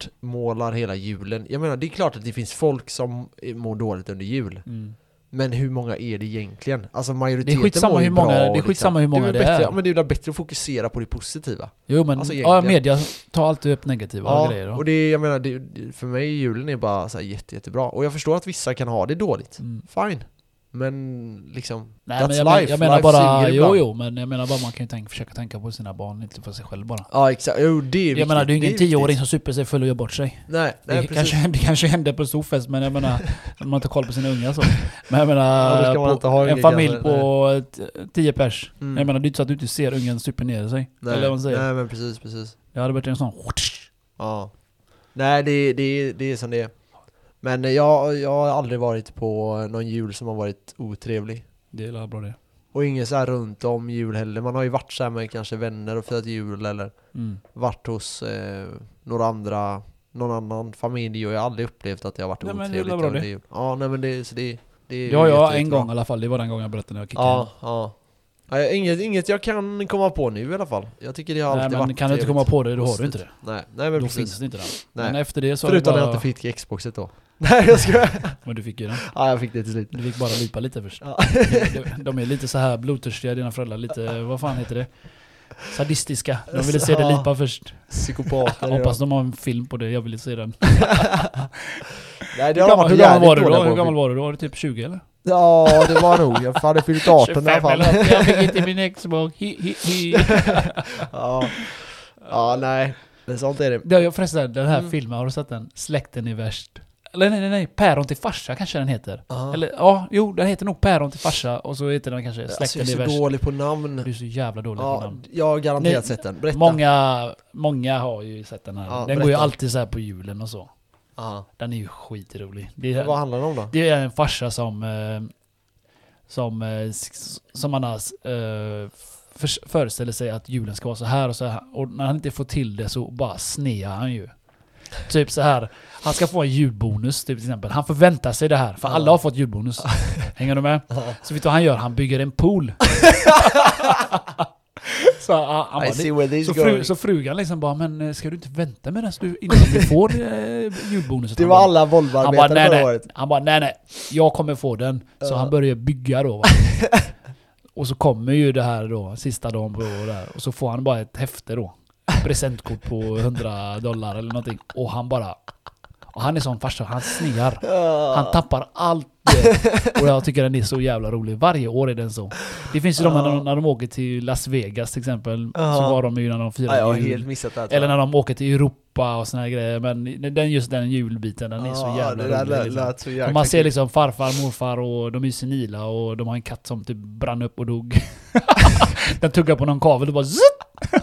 [SPEAKER 1] svartmålar hela julen? Jag menar det är klart att det finns folk som eh, mår dåligt under jul.
[SPEAKER 2] Mm.
[SPEAKER 1] Men hur många är det egentligen? Alltså
[SPEAKER 2] Det är
[SPEAKER 1] majoriteten
[SPEAKER 2] skitsamma
[SPEAKER 1] mår ju
[SPEAKER 2] hur många-
[SPEAKER 1] bra
[SPEAKER 2] det är
[SPEAKER 1] liksom.
[SPEAKER 2] skitsamma hur många
[SPEAKER 1] det är.
[SPEAKER 2] det
[SPEAKER 1] väl Bättre,
[SPEAKER 2] är.
[SPEAKER 1] ja, men det är väl bättre att fokusera på det positiva.
[SPEAKER 2] Jo men,
[SPEAKER 1] Alltså,
[SPEAKER 2] ja,
[SPEAKER 1] egentligen.
[SPEAKER 2] media tar alltid upp negativa
[SPEAKER 1] Ja,
[SPEAKER 2] grejer.
[SPEAKER 1] och det, jag menar, det, det- för mig julen är bara så här jätte, jättebra. Och jag förstår att vissa kan ha det dåligt.
[SPEAKER 2] Mm.
[SPEAKER 1] Fine. Men liksom,
[SPEAKER 2] Nej,
[SPEAKER 1] that's
[SPEAKER 2] men jag, men-
[SPEAKER 1] life.
[SPEAKER 2] jag menar
[SPEAKER 1] life
[SPEAKER 2] bara,
[SPEAKER 1] suger
[SPEAKER 2] jo
[SPEAKER 1] ibland.
[SPEAKER 2] jo, men jag menar bara man kan ju tänka, försöka tänka på sina barn, inte på sig själv bara.
[SPEAKER 1] Ja exakt, jo det är
[SPEAKER 2] Jag
[SPEAKER 1] viktigt.
[SPEAKER 2] menar det är ju ingen
[SPEAKER 1] viktigt.
[SPEAKER 2] tioåring som super sig full och gör bort sig.
[SPEAKER 1] Nej,
[SPEAKER 2] Det,
[SPEAKER 1] nej precis.
[SPEAKER 2] kanske, det kanske händer på storfest men jag menar, om man inte har koll på sina unga så. Men jag
[SPEAKER 1] Ja,
[SPEAKER 2] menar,
[SPEAKER 1] då ska man
[SPEAKER 2] på
[SPEAKER 1] inte ha
[SPEAKER 2] en
[SPEAKER 1] unga
[SPEAKER 2] familj
[SPEAKER 1] kanske,
[SPEAKER 2] på t- 10 pers.
[SPEAKER 1] Mm.
[SPEAKER 2] Jag menar det är inte så att du inte ser ungen super ner sig.
[SPEAKER 1] nej,
[SPEAKER 2] Eller vad man säger.
[SPEAKER 1] Nej men precis, precis.
[SPEAKER 2] Det hade varit en sån...
[SPEAKER 1] Ja. Nej det, det, det är som det är. Men eh, jag, jag har aldrig varit på någon jul som har varit otrevlig.
[SPEAKER 2] Det är bra det.
[SPEAKER 1] Och ingen så här runt om jul heller. Man har ju varit så här med kanske vänner och firat jul eller
[SPEAKER 2] Mm.
[SPEAKER 1] varit hos eh, några andra, någon annan familj och jag har aldrig upplevt att jag har varit
[SPEAKER 2] Nej, men det är
[SPEAKER 1] otrevligt.
[SPEAKER 2] väl bra
[SPEAKER 1] över
[SPEAKER 2] det.
[SPEAKER 1] jul. Ja nej men det, så det, det är
[SPEAKER 2] Det har
[SPEAKER 1] ju
[SPEAKER 2] jag
[SPEAKER 1] jätte-
[SPEAKER 2] en
[SPEAKER 1] jättebra.
[SPEAKER 2] gång i alla fall, det var den gången jag berättade när jag kickade
[SPEAKER 1] Ja, ja. Nej, Inget, inget jag kan komma på nu i alla fall. Jag tycker det har
[SPEAKER 2] Nej
[SPEAKER 1] alltid
[SPEAKER 2] men
[SPEAKER 1] varit
[SPEAKER 2] kan du inte komma
[SPEAKER 1] trevligt.
[SPEAKER 2] på det, då har du inte det.
[SPEAKER 1] Nej, nej men
[SPEAKER 2] Då
[SPEAKER 1] precis.
[SPEAKER 2] finns det inte den.
[SPEAKER 1] Nej.
[SPEAKER 2] Men efter det så... har det
[SPEAKER 1] Förutom
[SPEAKER 2] bara,
[SPEAKER 1] att jag inte fick Xboxet då. Nej jag skojar.
[SPEAKER 2] Men du fick ju den.
[SPEAKER 1] ja jag fick det till slut.
[SPEAKER 2] Du fick bara lipa lite först.
[SPEAKER 1] Ja.
[SPEAKER 2] De- De är lite så här blodtörstiga dina föräldrar, lite, vad fan heter det? Sadistiska. De ville se dig
[SPEAKER 1] Ja.
[SPEAKER 2] lipa först.
[SPEAKER 1] Psykopater.
[SPEAKER 2] Jag hoppas de har en film på det, jag ville se den.
[SPEAKER 1] Nej det
[SPEAKER 2] Hur
[SPEAKER 1] har de
[SPEAKER 2] gammal,
[SPEAKER 1] varit
[SPEAKER 2] hur
[SPEAKER 1] jävligt
[SPEAKER 2] gammal var du då?
[SPEAKER 1] dåliga
[SPEAKER 2] Hur
[SPEAKER 1] på.
[SPEAKER 2] gammal var du då? Var du typ 20 eller?
[SPEAKER 1] Ja det var nog, jag hade fyllt 18 i alla
[SPEAKER 2] 25
[SPEAKER 1] fall.
[SPEAKER 2] eller något. Jag fick inte min Xbox. Hi, hi, hi.
[SPEAKER 1] Ja. ja nej, men sånt är det.
[SPEAKER 2] Det har jag förresten, den här
[SPEAKER 1] Mm.
[SPEAKER 2] filmen, har du sett den? Släkten är värst. Eller nej, nej, nej. Päron till farsa kanske den heter.
[SPEAKER 1] Ja.
[SPEAKER 2] Eller ja, jo den heter nog Päron till farsa och så heter den kanske
[SPEAKER 1] alltså,
[SPEAKER 2] Släkten
[SPEAKER 1] jag
[SPEAKER 2] är
[SPEAKER 1] är
[SPEAKER 2] värst.
[SPEAKER 1] så dålig på namn.
[SPEAKER 2] Du är så jävla dålig på
[SPEAKER 1] Ja,
[SPEAKER 2] namn.
[SPEAKER 1] jag har garanterat
[SPEAKER 2] Ni-
[SPEAKER 1] sett den. Berätta.
[SPEAKER 2] Många, många har ju sett den här.
[SPEAKER 1] Ja,
[SPEAKER 2] den
[SPEAKER 1] berätta.
[SPEAKER 2] går ju alltid så här på julen och så.
[SPEAKER 1] Ja.
[SPEAKER 2] Den är ju skitrolig. Det är,
[SPEAKER 1] Vad handlar den om då?
[SPEAKER 2] det är en farsa som... eh, Som, eh, s- som han har, eh, förs- föreställer sig att julen ska vara så här och så här. Och när han inte får till det så bara snear han ju. Typ så här. Han ska få en julbonus typ, till exempel. Han förväntar sig det här. För
[SPEAKER 1] Ja.
[SPEAKER 2] alla har fått julbonus. Hänger du med? Så vet du vad han gör? Han bygger en pool. så han, han bara,
[SPEAKER 1] I see where this
[SPEAKER 2] så,
[SPEAKER 1] is
[SPEAKER 2] fru,
[SPEAKER 1] going.
[SPEAKER 2] så frugan liksom bara, men eh, ska du inte vänta medan du, innan du får eh, julbonusen?
[SPEAKER 1] Det var
[SPEAKER 2] Han bara-
[SPEAKER 1] alla
[SPEAKER 2] han bara,
[SPEAKER 1] Volvo-arbetare
[SPEAKER 2] nej,
[SPEAKER 1] förra
[SPEAKER 2] nej.
[SPEAKER 1] året.
[SPEAKER 2] han bara, nej nej, jag kommer få den. Så
[SPEAKER 1] Ja.
[SPEAKER 2] han börjar bygga då. Va? och så kommer ju det här då, sista dagen på det här. Och så får han bara ett häfte då. Presentkort på 100 dollar eller någonting. Och han bara... Och han är sån farsa, han snear. Han tappar allt det. Och jag tycker den är så jävla rolig. Varje år är den så. Det finns ju de när de, när de åker till Las Vegas till exempel. Så
[SPEAKER 1] Ja.
[SPEAKER 2] var de ju när de
[SPEAKER 1] Ja, jag har
[SPEAKER 2] firade jul.
[SPEAKER 1] helt missat det här. tror
[SPEAKER 2] Eller
[SPEAKER 1] jag.
[SPEAKER 2] när de åker till Europa och såna här grejer. Men den, just den julbiten, den är så
[SPEAKER 1] Ja,
[SPEAKER 2] jävla
[SPEAKER 1] Det där
[SPEAKER 2] rolig.
[SPEAKER 1] lät-
[SPEAKER 2] liksom.
[SPEAKER 1] lät så
[SPEAKER 2] Och
[SPEAKER 1] jäkla
[SPEAKER 2] man ser
[SPEAKER 1] kul.
[SPEAKER 2] liksom farfar, morfar och de är senila och de har en katt som typ brann upp och dog. den tuggar på någon kavel och bara zzzt!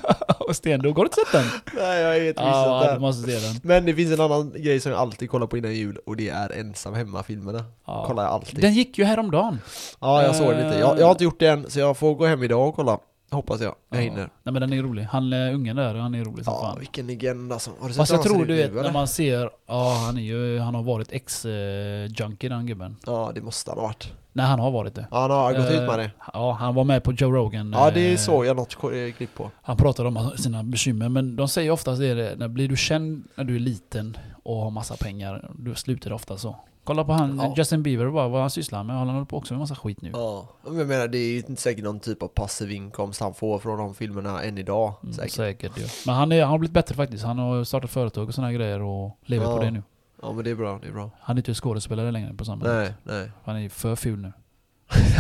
[SPEAKER 2] och stendog. Har du inte sett den?
[SPEAKER 1] Nej, jag har helt missat det
[SPEAKER 2] Ja,
[SPEAKER 1] här.
[SPEAKER 2] du måste se den.
[SPEAKER 1] Men det finns en annan grej som jag alltid kollar på innan jul och det är ensam hemma-filmerna.
[SPEAKER 2] Ja.
[SPEAKER 1] Kollar jag alltid.
[SPEAKER 2] Den gick ju häromdagen.
[SPEAKER 1] Ja, jag såg det lite. Jag, jag har inte gjort det än, så jag får gå hem idag och kolla. Hoppas jag. Jag
[SPEAKER 2] Ja.
[SPEAKER 1] hinner.
[SPEAKER 2] Nej men den är rolig. Han eh, ungen där, han är rolig som
[SPEAKER 1] Ja,
[SPEAKER 2] fan.
[SPEAKER 1] vilken legend alltså. Har du sett
[SPEAKER 2] Fast jag
[SPEAKER 1] hur han ser
[SPEAKER 2] tror du
[SPEAKER 1] ut
[SPEAKER 2] vet
[SPEAKER 1] nu,
[SPEAKER 2] när
[SPEAKER 1] eller?
[SPEAKER 2] man ser, ja han är ju, han har varit ex-junkie den gubben.
[SPEAKER 1] Ja, det måste han ha varit.
[SPEAKER 2] Nej han har varit det.
[SPEAKER 1] Ja, han har gått
[SPEAKER 2] Eh,
[SPEAKER 1] ut med det.
[SPEAKER 2] Ja, han var med på Joe Rogan.
[SPEAKER 1] Ja,
[SPEAKER 2] eh,
[SPEAKER 1] det såg jag något ko- eh, klipp på.
[SPEAKER 2] Han pratar om sina bekymmer, men de säger oftast det, är det när blir du känd när du är liten och har massa pengar, då slutar det ofta så. Kolla på han,
[SPEAKER 1] Ja.
[SPEAKER 2] Justin Bieber, vad, vad han sysslar med, han håller på också med massa skit nu.
[SPEAKER 1] Ja, men jag menar det är ju inte säkert någon typ av passiv inkomst han får från de filmerna än idag.
[SPEAKER 2] Mm,
[SPEAKER 1] Säkert.
[SPEAKER 2] säkert ju. Men han, är, han har blivit bättre faktiskt, han har startat företag och såna här grejer och lever
[SPEAKER 1] Ja.
[SPEAKER 2] på det nu.
[SPEAKER 1] Ja, men det är bra, det är bra.
[SPEAKER 2] Han är inte skådespelare längre på samma sätt.
[SPEAKER 1] Nej, nej.
[SPEAKER 2] Han är ju för ful nu.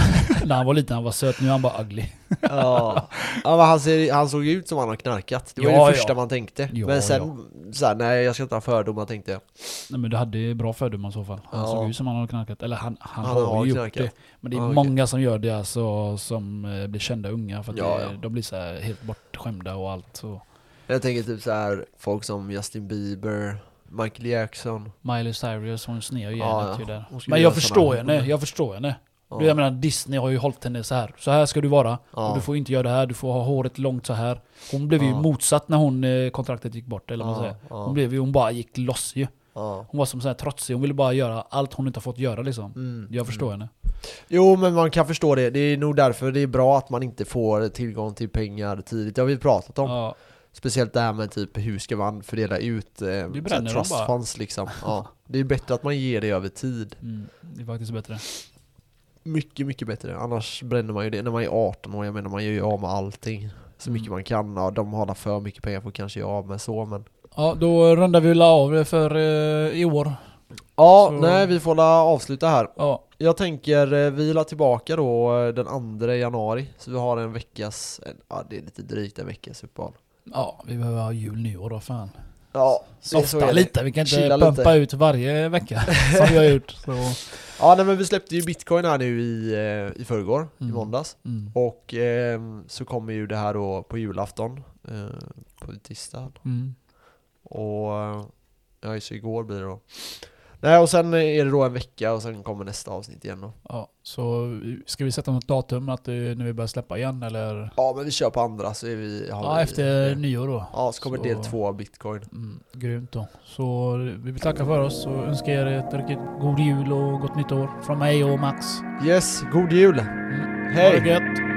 [SPEAKER 2] när han var liten han var söt, nu är han bara ugly.
[SPEAKER 1] Ja, ja men han, ser, han såg ju ut som han har knarkat. Det var
[SPEAKER 2] Ja,
[SPEAKER 1] ju
[SPEAKER 2] ja.
[SPEAKER 1] det första man tänkte.
[SPEAKER 2] Ja,
[SPEAKER 1] men sen, så här, nej jag ska inte ha fördomar tänkte jag.
[SPEAKER 2] Nej men du hade ju bra fördomar i så fall. Han
[SPEAKER 1] Ja.
[SPEAKER 2] såg ut som han har knarkat. Eller han, han,
[SPEAKER 1] Han
[SPEAKER 2] har
[SPEAKER 1] har
[SPEAKER 2] ju gjort
[SPEAKER 1] knarkat.
[SPEAKER 2] det. Men det är
[SPEAKER 1] Ja, okej.
[SPEAKER 2] många som gör det alltså, som eh, blir kända unga. För att
[SPEAKER 1] Ja,
[SPEAKER 2] det,
[SPEAKER 1] ja.
[SPEAKER 2] de blir så här helt bortskämda och allt. Så.
[SPEAKER 1] Jag tänker typ så här folk som Justin Bieber, Michael Jackson.
[SPEAKER 2] Miley Cyrus, hon snear ju
[SPEAKER 1] Ja,
[SPEAKER 2] hjärnet
[SPEAKER 1] ja.
[SPEAKER 2] ju där.
[SPEAKER 1] Hon skulle
[SPEAKER 2] Men
[SPEAKER 1] göra
[SPEAKER 2] jag
[SPEAKER 1] såna
[SPEAKER 2] förstår
[SPEAKER 1] här
[SPEAKER 2] henne,
[SPEAKER 1] roller.
[SPEAKER 2] jag förstår henne.
[SPEAKER 1] Ja.
[SPEAKER 2] Du, jag menar Disney har ju hållit henne så här. Så här ska du vara.
[SPEAKER 1] Ja.
[SPEAKER 2] Och du får inte göra det här, du får ha håret långt så här. Hon blev ju
[SPEAKER 1] Ja.
[SPEAKER 2] motsatt när hon, eh, kontraktet gick bort eller vad man
[SPEAKER 1] Ja,
[SPEAKER 2] säger.
[SPEAKER 1] ja.
[SPEAKER 2] Hon, blev ju, hon bara gick loss ju.
[SPEAKER 1] Ja.
[SPEAKER 2] Hon var som så här trotsig, hon ville bara göra allt hon inte har fått göra liksom.
[SPEAKER 1] Mm.
[SPEAKER 2] Jag förstår henne.
[SPEAKER 1] Jo men man kan förstå det, det är nog därför det är bra att man inte får tillgång till pengar tidigt, det har vi pratat om.
[SPEAKER 2] Ja.
[SPEAKER 1] Speciellt det här med typ hur ska man fördela ut eh, så
[SPEAKER 2] bränner
[SPEAKER 1] här
[SPEAKER 2] dem
[SPEAKER 1] trust
[SPEAKER 2] bara.
[SPEAKER 1] funds liksom. Ja. Det är bättre att man ger det över tid.
[SPEAKER 2] Mm, det är faktiskt bättre.
[SPEAKER 1] Mycket, mycket bättre. Annars bränner man ju det när man är 18 år, jag menar man gör ju av med allting. Så mycket
[SPEAKER 2] Mm.
[SPEAKER 1] man kan, ja, de har för mycket pengar får kanske göra av med så men
[SPEAKER 2] Ja, då rundar vi la av för eh, i år.
[SPEAKER 1] Ja,
[SPEAKER 2] Så-
[SPEAKER 1] nej vi får la avsluta här.
[SPEAKER 2] Ja,
[SPEAKER 1] Jag tänker eh, vi la tillbaka då eh, den 2 januari, så vi har en veckas, en, ja det är lite drygt en veckas uppehåll.
[SPEAKER 2] ja, vi behöver ha jul, nyår då fan.
[SPEAKER 1] Ja, det är så är
[SPEAKER 2] Softa
[SPEAKER 1] det.
[SPEAKER 2] lite, vi kan inte
[SPEAKER 1] Chilla
[SPEAKER 2] pumpa
[SPEAKER 1] lite.
[SPEAKER 2] ut varje vecka som vi har gjort. Så.
[SPEAKER 1] Ja nej, men vi släppte ju bitcoin här nu i, eh, i förrgår, i
[SPEAKER 2] Mm.
[SPEAKER 1] måndags.
[SPEAKER 2] Mm.
[SPEAKER 1] Och ehm, så kommer ju det här då på julafton, eh, på tisdag.
[SPEAKER 2] Mm.
[SPEAKER 1] Och eh, ja just igår blir det då. Nej och sen är det då en vecka och sen kommer nästa avsnitt igen då.
[SPEAKER 2] Ja, så ska vi sätta något datum att det är när vi börjar släppa igen eller?
[SPEAKER 1] Ja men vi kör på andra så är vi... har
[SPEAKER 2] Ja,
[SPEAKER 1] vi,
[SPEAKER 2] efter nyår då.
[SPEAKER 1] Ja så kommer
[SPEAKER 2] så-
[SPEAKER 1] del två av bitcoin.
[SPEAKER 2] Mm, grymt då. Så eh, vi vill tacka för oss och önskar er ett riktigt god jul och gott nytt år från mig och Max.
[SPEAKER 1] Yes, god jul!
[SPEAKER 2] Mm. Ha
[SPEAKER 1] Hej!
[SPEAKER 2] det gött!